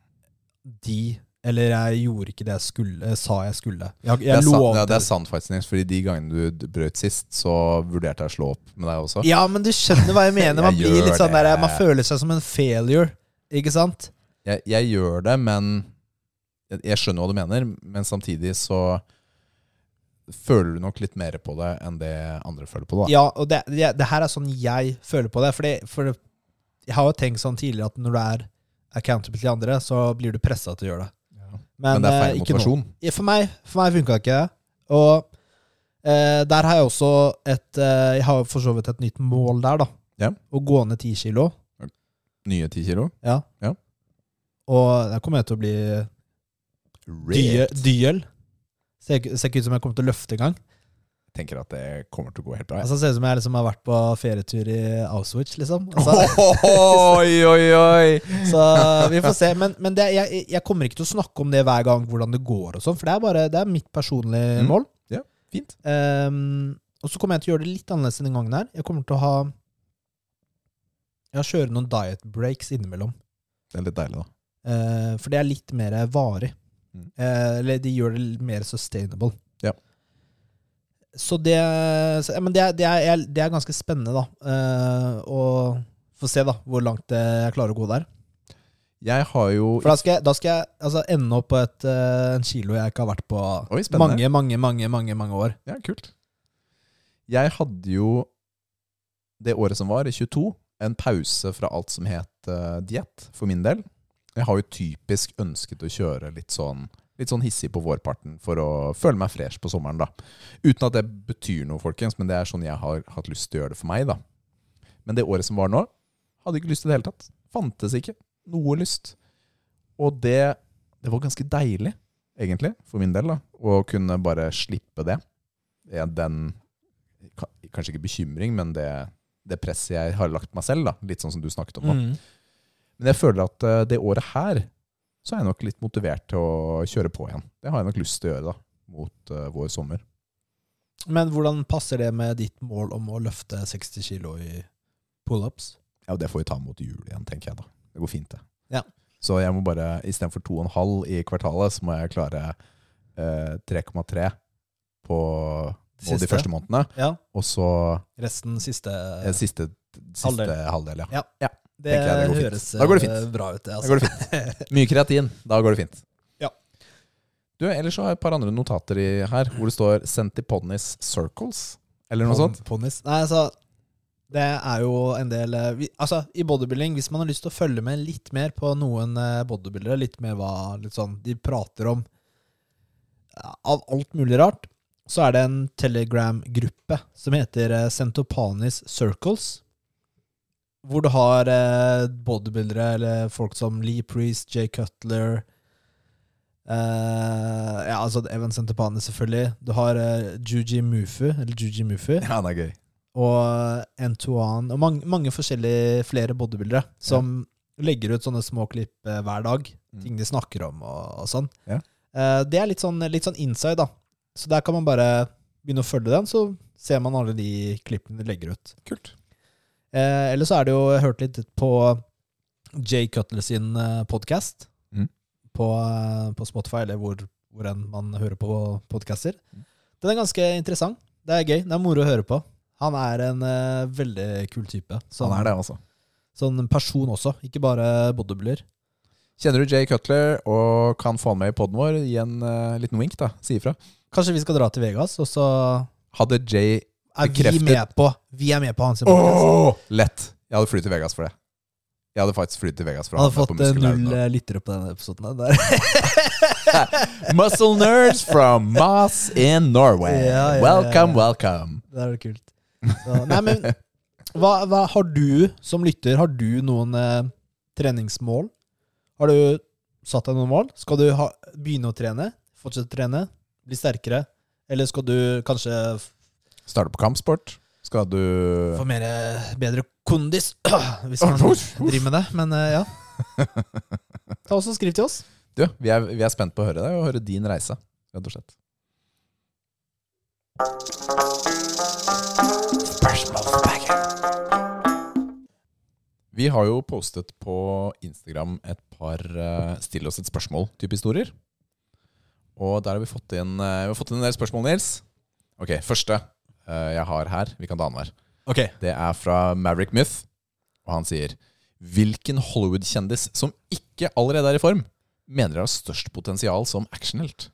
de Eller jeg gjorde ikke det jeg skulle, eh, sa jeg skulle. Jeg,
Det er,
jeg
sant,
lovte
ja, det er sant, faktisk, Nils, fordi de gangene du d- brøt sist, så vurderte jeg å slå opp med deg også.
Ja, men du skjønner hva jeg mener. Man
Jeg
blir
gjør
litt sånn
det.
der, man føler seg som en failure. Ikke sant?
Jeg, jeg gjør det, men jeg, jeg skjønner hva du mener, men samtidig så føler du nok litt mer på det enn det andre føler på det. da.
Ja, og det, det, det her er sånn jeg føler på det. Fordi, for jeg har jo tenkt sånn tidligere at når du er accountable til andre, så blir du pressa til å gjøre det.
Men, det er
eh,
feil
ikke nå.
motivasjon.
Ja, For meg, for meg funka ikke det. Og eh, der har jeg også et eh, Jeg har for så vidt et nytt mål der, da.
Ja.
Å gå ned ti kilo.
Nye ti kilo.
Ja.
Ja.
Og der kommer jeg til å bli dyel. dyel. Ser ikke ser ikke ut som jeg kommer til å løfte engang.
Tenker at det kommer til å gå helt bra. jeg.
Altså, ser ut som jeg liksom har vært på ferietur i Auschwitz, liksom. Altså,
Oi, oi, oi!
så vi får se. Men, men det, jeg, jeg kommer ikke til å snakke om det hver gang, hvordan det går og sånn, for det er bare det er mitt personlige
Mm.
mål.
Fint.
Ehm, og så kommer jeg til å gjøre det litt annerledes enn den gangen her. Jeg kommer til å ha Jeg kjører noen diet breaks innimellom.
Det er litt deilig, da.
Eh, for det er litt mer varig.
Mm.
Eh, eller de gjør det l- mer sustainable.
Ja.
Så det så, ja, Men det er, det, er, jeg- det er ganske spennende, da. Eh, og få se da hvor langt eh, jeg klarer å gå der.
Jeg har jo
For da skal jeg, da skal jeg altså, ende opp på et, eh, en kilo jeg ikke har vært på
Oi, spennende.
mange, mange, mange, mange, mange år.
Ja, kult. Jeg hadde jo det året som var, i 22, en pause fra alt som het uh, diett, for min del. Jeg har jo typisk ønsket å kjøre litt sånn, litt sånn hissig på vårparten for å føle meg fresh på sommeren, da. Uten at det betyr noe, folkens, men det er sånn jeg har hatt lyst til å gjøre det for meg, da. Men det året som var nå, hadde ikke lyst i det hele tatt. Fantes ikke noe lyst. Og det, det var ganske deilig, egentlig, for min del, da. Å kunne bare slippe det ja, den ka- Kanskje ikke bekymring, men det, det presset jeg har lagt meg selv. da Litt sånn som du snakket om. da
Mm.
Men jeg føler at eh, det året her så er jeg nok litt motivert til å kjøre på igjen. Det har jeg nok lyst til å gjøre da mot eh, vår sommer.
Men hvordan passer det med ditt mål om å løfte 60 kilo i pullups?
Ja, og Det får vi ta mot jul igjen, tenker jeg da. Det går fint, det.
Ja.
Så jeg må bare istedenfor 2,5 i kvartalet, så må jeg klare eh, 3,3 på
Det
nå de
siste?
første månedene.
Ja.
Og så
Resten siste
eh, siste, siste
Halvdel.
halvdel, ja.
Det,
tenker jeg det går fint.
høres
Da går det
eh,
fint.
bra ut, det.
Da
Altså.
går det fint. Mye kreatin. Da går det fint.
Ja.
Du, Ellers så har jeg et par andre notater i her hvor det står 'Sentiponis circles'. Eller noe sånt.
Ponnis. Nei, altså det er jo en del eh, vi, Altså, i bodybuilding, hvis man har lyst til å følge med litt mer på noen eh, bodybuildere, litt mer hva litt sånn, de prater om ja, av alt mulig rart, så er det en Telegram-gruppe som heter eh, Centopanis Circles. Hvor du har eh, bodybuildere eller folk som Lee Priest, Jay Cutler eh, Ja, altså Evan Centopanis, selvfølgelig. Du har eh, Juji Mufu, eller Juji Mufu
Ja, det er gøy.
og Antoine og mange, mange forskjellige flere bodybuildere som legger ut sånne små klipp eh, hver dag.
Mm.
Ting de snakker om og, og sånn.
Ja.
Eh, det er litt sånn, litt sånn inside, da. Så der kan man bare begynne å følge den, så ser man alle de klippene de legger ut.
Kult.
Eh, eller så er det jo Jeg har hørt litt på Jay Cutler sin podkast
Mm.
på, eh, på Spotify, eller hvor, hvor enn man hører på podkaster.
Mm.
Den er ganske interessant. Det er gøy. Det er moro å høre på. Han er en eh, veldig kul type. Sånn,
Han er det, altså.
sånn person også, ikke bare bodybuilder.
Kjenner du Jay Cutler og kan få han med i poden vår, gi en eh, liten wink, da. Si ifra.
Kanskje vi skal dra til Vegas, og så
Hadde Jay
er vi
Bekreftet.
med på Vi er med på hans podcast.
Åh! Lett! Jeg hadde flydd til Vegas for det. Jeg hadde faktisk flydd til Vegas for
Han
å
hadde
ha
fått
med
eh,
på
null
muskelhaugen.
eh, lyttere på denne episoden. her. Der.
Muscle nerds from Moss in Norway.
Ja, ja, ja.
Welcome, welcome.
Det er jo kult. Så, nei, men hva, hva har du som lytter, har du noen eh, treningsmål? Har du satt deg noen mål? Skal du ha, begynne å trene? Fortsette å trene? Bli sterkere? Eller skal du kanskje f-
Starter på kampsport. Skal du
få mer, eh, bedre kondis, hvis man driver med det? Men eh, ja. Ta også Skriv til oss.
Du, vi er, vi er spent på å høre deg og høre din reise, rett og slett. Vi har jo postet på Instagram et par eh, still oss et spørsmål-type historier. Og der har vi fått inn, eh, vi har fått inn en del spørsmål, Nils. Ok, første eh, jeg har her, vi kan ta annenhver.
Ok.
Det er fra Maverick Myth, og han sier Hvilken Hollywood-kjendis som ikke allerede er i form, mener dere har størst potensial som actionhelt?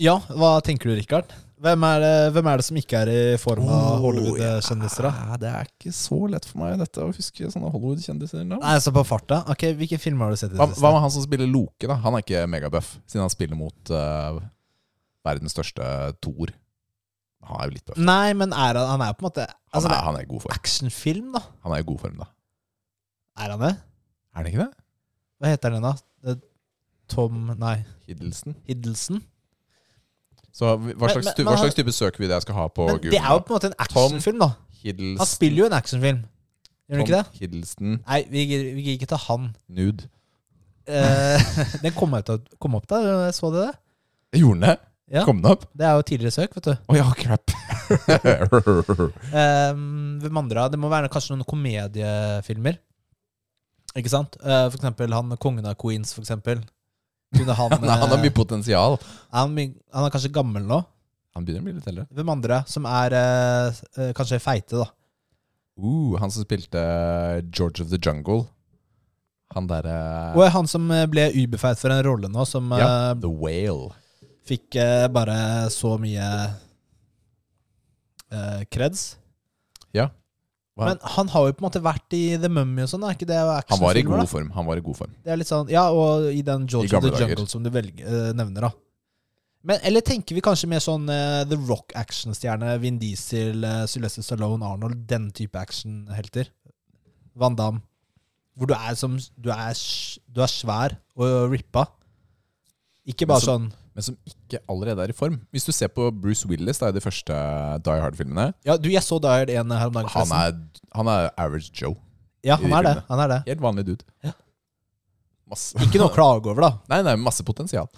Ja, hva tenker du, Rikard? Hvem er det, hvem er det som ikke er i form av
Oh,
Hollywood-kjendiser, da?
Ja, det er ikke så lett for meg dette å huske sånne Hollywood-kjendiser. nå.
Nei, så på farta. Ok, Hvilke filmer har du sett i
Hva,
det
hva
siste?
med han som spiller Loke? da? Han er ikke megabuff, siden han spiller mot eh, verdens største toer. Han er jo litt buff.
Nei, men er han, han er jo på en måte
Han,
Mm, Altså, det
er, han er i god
er
form.
actionfilm, da.
Han er i god form, da.
Er han det?
Er det ikke det?
Hva heter den, da? Det- Tom Nei,
Hiddleston.
Hiddleston?
Så hva
Men-
slags,
men-
ty-
men
hva
han-
slags type søk vil jeg skal ha på
Men
Google?
det er jo på en måte en
Tom
actionfilm, da. Han spiller jo en actionfilm. Gjør han ikke det?
Hiddleston
Nei, vi gir vi gir ikke til han.
nude.
Eh, den kom, ut, av- kom opp der, jeg så det det?
Gjorde den det?
Ja.
Kom den opp?
Det er jo tidligere søk, vet du.
Å ja, crap.
Eh, hvem andre? Det må være kanskje noen komediefilmer. Ikke sant? Eh, for eksempel han kongen av Queens, for eksempel. Kunne han,
Nei, han har
eh,
mye potensial.
er han, my- han er kanskje gammel nå.
Han begynner å bli litt eldre.
Hvem andre som er eh, eh, kanskje feite, da?
Uh, han som spilte George of the Jungle. Han derre
Og han som eh, ble uberfeit for en rolle nå, som
Ja,
eh,
The Whale.
fikk eh, bare så mye eh, creds.
Ja. Hva-
Men han har jo på en måte vært i The Mummy og sånn, er ikke det
Han var i
actionfilmer?
god
da?
form. Han var i god form.
Det er litt sånn, ja, og i den George
I
of the
gamle dager.
Jungle som du velger, eh, nevner, da. Men, eller tenker vi kanskje mer sånn eh, The Rock-actionstjerne, Vin Diesel, eh, Sylvester Stallone, Arnold, den type actionhelter? Van Damme. Hvor du er, som, du er, sj- du er svær og rippa. Ikke
Men
bare
så-
sånn
Men som ikke allerede er i form. Hvis du ser på Bruce Willis da, i de første eh, Die Hard-filmene
Ja, du, jeg så Dyed 1 her om dagen.
han,
forresten.
er- han er average Joe.
ja,
i
han
de
er det.
filmene.
Han er det.
Helt vanlig dude.
Ja.
Masse.
Ikke noe å klage over, da.
Nei, nei, masse potensial.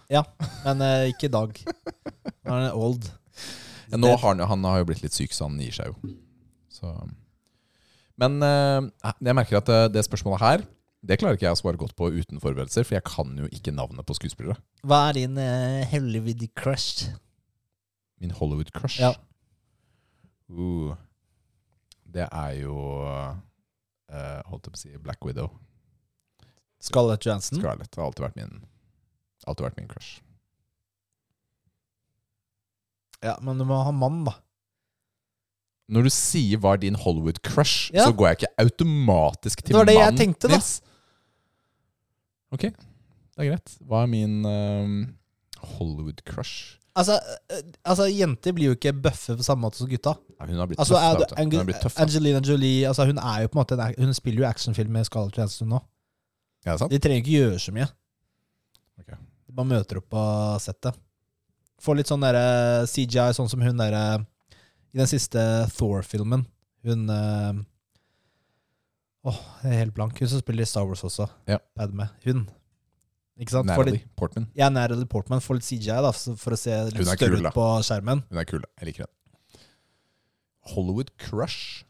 Men eh, ikke i dag. Nå er han old.
Ja, nå har han, han har jo blitt litt syk, så han gir seg jo. Så. Men eh, jeg merker at eh, det spørsmålet her Det klarer ikke jeg å svare godt på uten forberedelser, for jeg kan jo ikke navnet på skuespillere.
Hva er din uh, Hollywood crush?
Min Hollywood-crush.
Ja.
Uh, det er jo eh, Holdt jeg på å si Black Widow.
Scarlett Johansson?
Scarlett har alltid vært min Alltid vært min crush.
Ja, men du må ha mann, da.
Når du sier 'var din Hollywood-crush',
Ja.
så går jeg ikke automatisk til
Det var
mannen.
det jeg tenkte, da.
Nils. Ok, det er greit. Hva er min ehm, Hollywood-crush?
Altså, eh, altså, jenter blir jo ikke bøffe på samme måte som gutta.
Ja, hun har blitt
Altså,
tøff.
er
da,
du,
vet du. hun har
Angel,
blitt tøff da.
Angelina Jolie altså, Hun er jo på en måte en ac- Hun spiller jo actionfilm med Scarlett Johansson nå.
Ja, det er sant?
De trenger ikke gjøre så mye.
Ok.
De bare møter opp på settet. Får litt sånn derre CGI, sånn som hun derre I den siste Thor-filmen. Hun eh, Åh, jeg er helt blank. Hun som spiller i Star Wars også.
Ja.
Padme. Hun. Ikke sant? Får
Natalie
litt,
Portman.
jeg er Natalie Portman. Får litt CGI, da, for for å se litt
Hun er
større
kul, da.
ut på skjermen.
Hun er kul. da. Jeg liker henne. Hollywood-crush?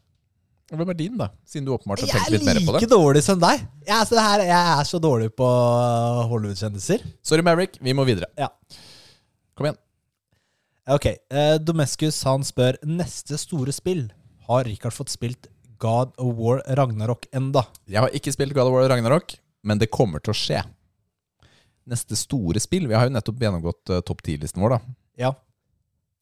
Hvem er din, da? Siden du åpenbart har
Jeg
tenkt
er
litt mer på
like
det.
dårlig som deg! Jeg er, så det her, jeg er så dårlig på uh, Hollywood-kjendiser.
Sorry, Maverick. Vi må videre.
Ja.
Kom igjen.
Ok, eh, Domescus han spør Neste store spill Har Richard fått spilt God of War Ragnarok enda?
Jeg har ikke spilt God of War Ragnarok, men det kommer til å skje. Neste store spill Vi har jo nettopp gjennomgått eh, topp 10-listen vår da
Ja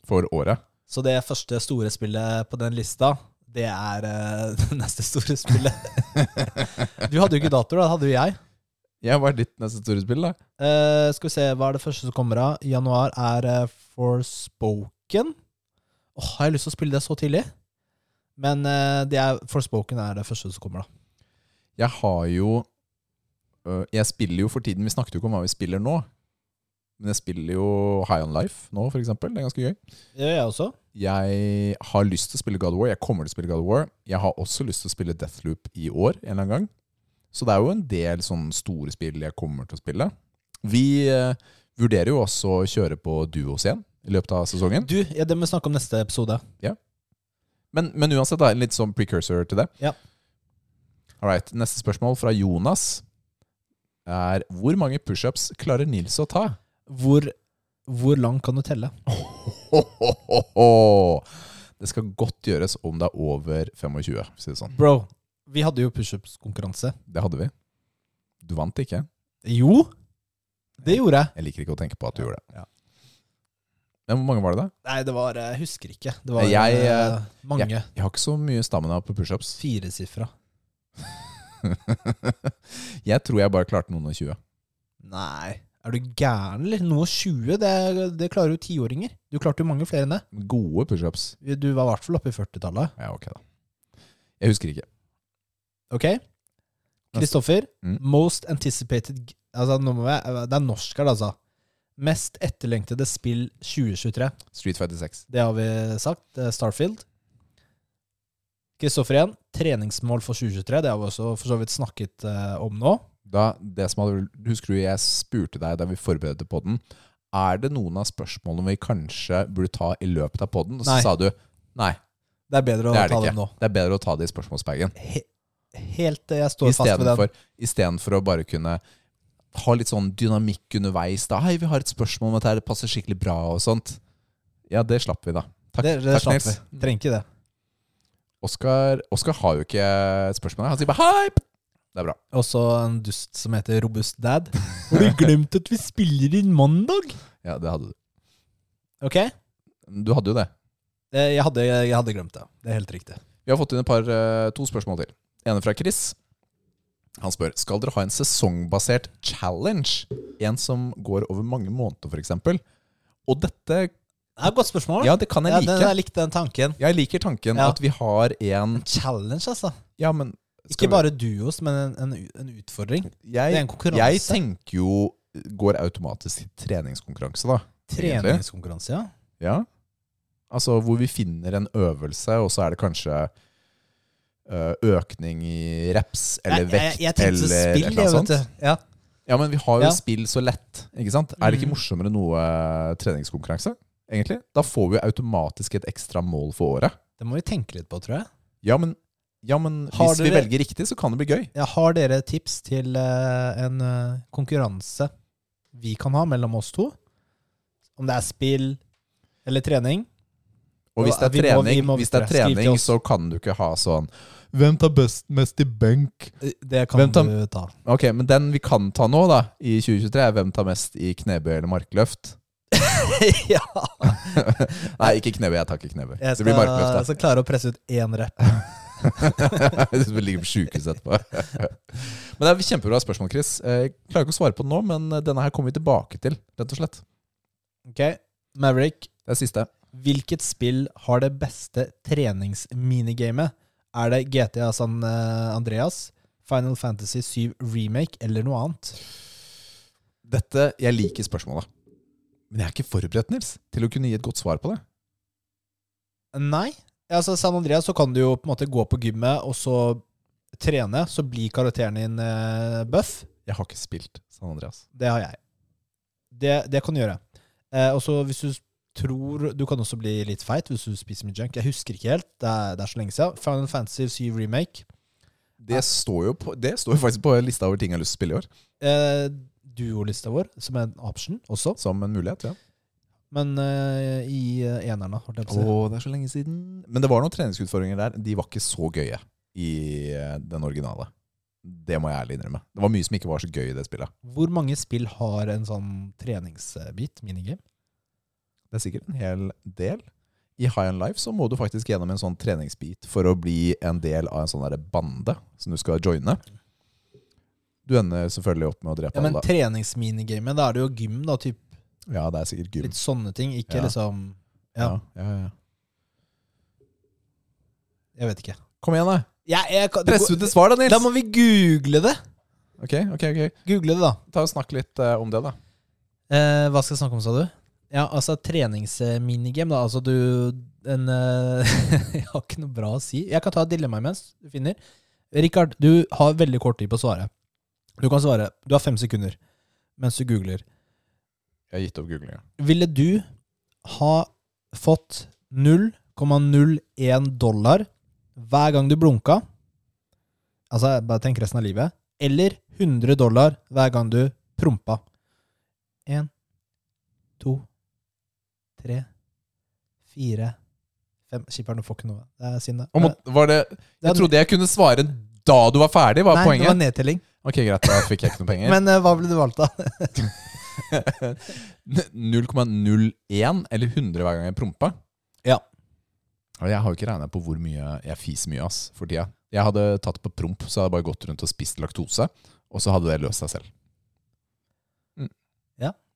for året.
Så det første store spillet på den lista Det er eh, det neste store spillet Du hadde jo ikke dato da, det hadde jo jeg
Ja, Hva er ditt neste store spill, da?
Eh, Skal vi se, hva er det første som kommer av? I januar er eh, Forspoken Åh, har jeg lyst til å spille det så tidlig? Men eh, det er, Forspoken er det første som kommer da
Jeg har jo øh, Jeg spiller jo for tiden Vi snakket jo ikke om hva vi spiller nå. Men jeg spiller jo High On Life nå, for eksempel. Det er ganske gøy.
Det gjør jeg også
Jeg har lyst til å spille God of War. Jeg kommer til å spille God of War. Jeg har også lyst til å spille Deathloop i år en eller annen gang. Så det er jo en del sånne store spill jeg kommer til å spille. Vi eh, vurderer jo også å kjøre på duos igjen i løpet av sesongen.
Du, ja, det må vi snakke om neste episode
Men, men uansett, da, en litt sånn precursor til det. Alright, neste spørsmål fra Jonas er Hvor mange pushups klarer Nils å ta?
Hvor, hvor langt kan du telle?
Ho, ho, ho, ho. Det skal godt gjøres om det er over 25, for å si det sånn.
Bro, vi hadde jo pushups-konkurranse.
Det hadde vi. Du vant ikke.
Jo, det gjorde jeg.
Jeg liker ikke å tenke på at du gjorde det.
Ja.
Men hvor mange var det, da?
Nei, det var eh, Jeg husker ikke. Det var
Jeg,
eh,
eh,
mange.
Jeg har ikke så mye stamina på pushups.
Firesifra.
jeg tror jeg bare klarte noen og 20.
Nei. Er du gæren, eller? Noe 20, det, det klarer jo tiåringer. Du klarte jo mange flere enn det.
Gode pushups.
Du var i hvert fall oppe i 40-tallet.
Ja, ok, da. Jeg husker ikke.
Ok? Kristoffer,
Mm.
most anticipated g- altså, nå må jeg, Det er norsk her, altså. Mest etterlengtede spill 2023.
Street Fighter 6.
Det har vi sagt. Det er Starfield. Kristoffer igjen. Treningsmål for 2023. Det har vi også for så vidt snakket eh, om nå.
Da, det som hadde, husker du jeg spurte deg da vi forberedte podden, er det noen av spørsmålene vi kanskje burde ta i løpet av podden? Og så
Nei.
sa du nei,
Det er bedre å
det er det
ta
ikke.
dem nå.
Det er bedre å ta det i spørsmålsbagen.
He helt eh, Jeg står fast ved den.
Istedenfor istedenfor å bare kunne ha litt sånn dynamikk underveis. Da, 'Hei, vi har et spørsmål om dette, her, det passer skikkelig bra', og sånt. Ja, det slapp vi, da. Takk,
det det
takk
slapp vi.
Nils.
Trenger ikke det.
Oskar, Oskar har jo ikke et spørsmål. her. Han sier bare 'hype'. Det er bra.
Og så en dust som heter Robust Dad. Har du glemt at vi spiller inn mandag?
Ja, det hadde du.
Ok? Eh,
Du hadde jo det.
Jeg hadde, jeg hadde glemt det. Det er helt riktig.
Vi har fått inn et par, eh, to spørsmål til. Ene fra Chris. Han spør skal dere ha en sesongbasert challenge. En som går over mange måneder, f.eks. Og dette
Det er et godt spørsmål.
Ja, det kan
den,
jeg like.
jeg likte den tanken.
Jeg liker tanken
Ja.
at vi har en
Challenge, altså.
Ja, men skal
Ikke bare duos, men en, en, u- en utfordring.
vi,
Det er
jeg,
en konkurranse.
jeg tenker jo går automatisk til treningskonkurranse, da.
Treningskonkurranse, ja.
Ja. Altså hvor vi finner en øvelse, og så er det kanskje eh, økning i reps eller
jeg,
vekt
jeg, jeg tenkte
eller et
spill,
eller annet
jeg, vet
sånt.
du. Ja.
Ja, men vi har jo
Ja. Mm.
spill så lett, ikke sant? Er det ikke morsommere noe eh, treningskonkurranse, egentlig? Da får vi jo automatisk et ekstra mål for året.
Det må vi tenke litt på, tror jeg.
Ja, men, ja, men
Har
hvis vi
dere-
velger riktig, så kan det bli gøy.
Ja, har dere tips til eh, en eh, konkurranse vi kan ha mellom oss to? Om det er spill eller trening?
Og hvis det er
Vi må- vi
trening,
må
hvis det
videre.
er
Skriv til
trening
oss.
så kan du ikke ha sånn Hvem tar best mest i benk?
Eh, Det kan
Hvem tar-
du ta.
Ok, men den vi kan ta nå, da, i 2023, er hvem tar mest i knebøy eller markløft?
ja.
Nei, ikke knebøy. Jeg tar ikke knebøy.
Jeg
Det
skal,
blir markløft,
jeg skal klare å presse ut én rep.
da. Hvis vi ligger på sjukehus etterpå. men det er et kjempebra spørsmål, Chris. Eh, Jeg klarer ikke å svare på den nå, men eh, denne her kommer vi tilbake til, rett og slett.
Ok, Maverick,
Det er siste.
hvilket spill har det beste treningsminigamet? Er det GTA San eh, Andreas, Final Fantasy 7 Remake eller noe annet?
Dette, Jeg liker spørsmålet, men jeg er ikke forberedt, Nils, til å kunne gi et godt svar på det.
Nei. Altså, San Andreas så kan du jo på en måte gå på gymmet og så trene, så blir karakteren din eh, buff.
Jeg har ikke spilt San Andreas.
Det har jeg. Det, det kan du gjøre. Eh, og så hvis du tror Du kan også bli litt feit hvis du spiser mye junk. Jeg husker ikke helt. Det er, det er så lenge siden. Final Fantasy 7 Remake. Ah.
Det står jo på, det står jo faktisk på lista over ting jeg har lyst til å spille i år.
Eh, Duolista vår, som er en option også.
Som en mulighet, ja.
Men eh, i eh, enerne, holdt jeg på å si.
Å, det er så lenge siden. Men det var noen treningsutfordringer der. De var ikke så gøye i eh, den originale. Det må jeg ærlig innrømme. Det var mye som ikke var så gøy i det spillet.
Hvor mange spill har en sånn treningsbit, minigame?
Det er sikkert en hel del. I High On Life så må du faktisk gjennom en sånn treningsbit for å bli en del av en sånn der bande som du skal joine. Du ender selvfølgelig opp med å drepe
Ja, men
alle.
treningsminigame, da er det jo gym, da. Typ
Ja, det er sikkert gym.
Litt sånne ting. Ikke
Ja.
liksom ja.
ja, ja, ja.
Jeg vet ikke.
Kom igjen, da!
Jeg, jeg, kan-
Press ut et svar, da, Nils!
da må vi google det!
Ok, ok, ok.
Google det, da.
Ta og Snakk litt eh, om det, da.
Eh, hva skal jeg snakke om, sa du? Ja, altså treningsminigame, da. Altså du en, eh, Jeg har ikke noe bra å si. Jeg kan ta et dilemma imens du finner. Rikard, du har veldig kort tid på å svare. Du kan svare. Du har fem sekunder mens du googler.
Jeg har gitt opp googlinga.
Ville du ha fått 0,01 dollar hver gang du blunka? altså bare tenk resten av livet, eller 100 dollar hver gang du prompa. Én, to, tre, fire, fem Skipperen, du får ikke noe. Det er synd, det.
Og må, var det,
Det
jeg
er-
trodde jeg kunne svare da du var ferdig,
Eh,
var
Nei, det
poenget.
var nedtelling.
Ok, greit, da fikk jeg ikke noe penger.
Men eh, hva ville du valgt, da?
0,01 eller 100 hver gang jeg prompa.
Ja.
Og jeg har jo ikke regna på hvor mye jeg fiser mye ass, for tida. Jeg hadde tatt på promp, så hadde jeg bare gått rundt og spist laktose. Og så hadde det løst seg selv.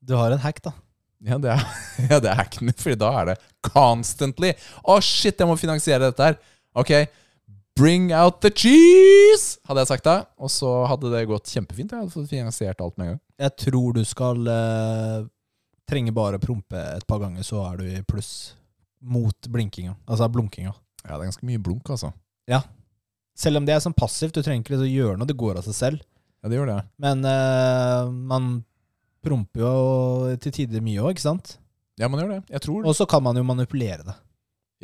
Du har en hack, da.
Ja, det er, ja, det er hacken, for da er det constantly. Å, shit, jeg må finansiere dette her. Ok, bring out the cheese, hadde jeg sagt da. Og så hadde det gått kjempefint. Jeg hadde fått finansiert alt med en gang.
Jeg tror du skal eh, trenge bare prompe et par ganger, så er du i pluss. Mot blinkinga. Altså blunkinga.
Ja, det er ganske mye blunk, altså.
Selv om det er sånn passivt, du trenger ikke liksom gjøre noe, det går av seg selv.
Ja, det gjør det.
Men eh, man promper jo til tider mye òg, ikke sant?
Ja, man gjør det. Jeg tror
Og så kan man jo manipulere det.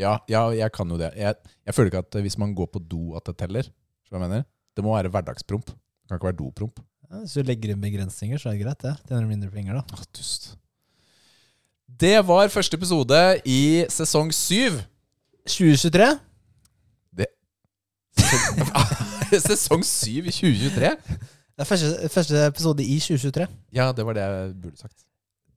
Ja, ja jeg kan jo det. Jeg, jeg føler ikke at eh, hvis man går på do at det teller. Skjønner du hva jeg mener? Det må være hverdagspromp. Det kan ikke være dopromp.
Ja, hvis du legger inn begrensninger, så er det greit, det. Tjener du mindre penger, da.
Å, dust. Det var første episode i sesong syv.
2023?
sesong syv i 2023?
Det er første, første episode i 2023.
Ja, det var det jeg burde sagt.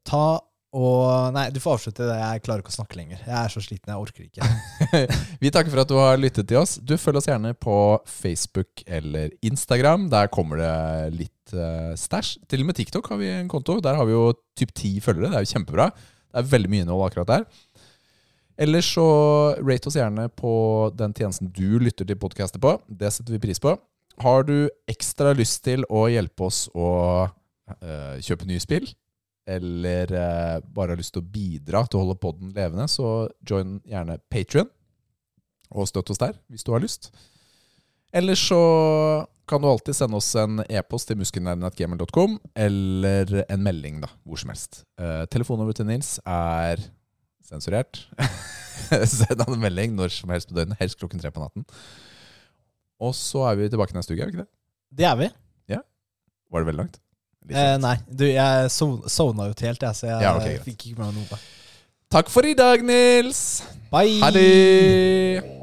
Ta og Nei, du får avslutte det. Jeg klarer ikke å snakke lenger. Jeg er så sliten, jeg orker ikke.
Vi takker for at du har lyttet til oss. Du Følg oss gjerne på Facebook eller Instagram. Der kommer det litt uh, stæsj. Til og med TikTok har vi en konto. Der har vi jo typ ti følgere. Det er jo kjempebra. Det er veldig mye innhold akkurat der. Ellers så rate oss gjerne på den tjenesten du lytter til podkaster på. Det setter vi pris på. Har du ekstra lyst til å hjelpe oss å eh, kjøpe nye spill, eller eh, bare har lyst til å bidra til å holde podden levende, så join gjerne Patrion og støtt oss der hvis du har lyst. Ellers så kan du alltid sende oss en e-post til muskelnerden.gmil.com, eller en melding, da, hvor som helst. Eh, telefonnummeret til Nils er sensurert. Send han en melding når som helst på døgnet, helst klokken tre på natten. Og så er vi tilbake neste uke, er vi ikke det?
Det er vi.
Var det veldig langt? Litt
Eh,
langt.
nei, du, jeg sov- sovna ut helt, jeg, så jeg
Ja, ok, greit.
fikk ikke med meg noe.
Takk for i dag, Nils!
Bye!
Ha det!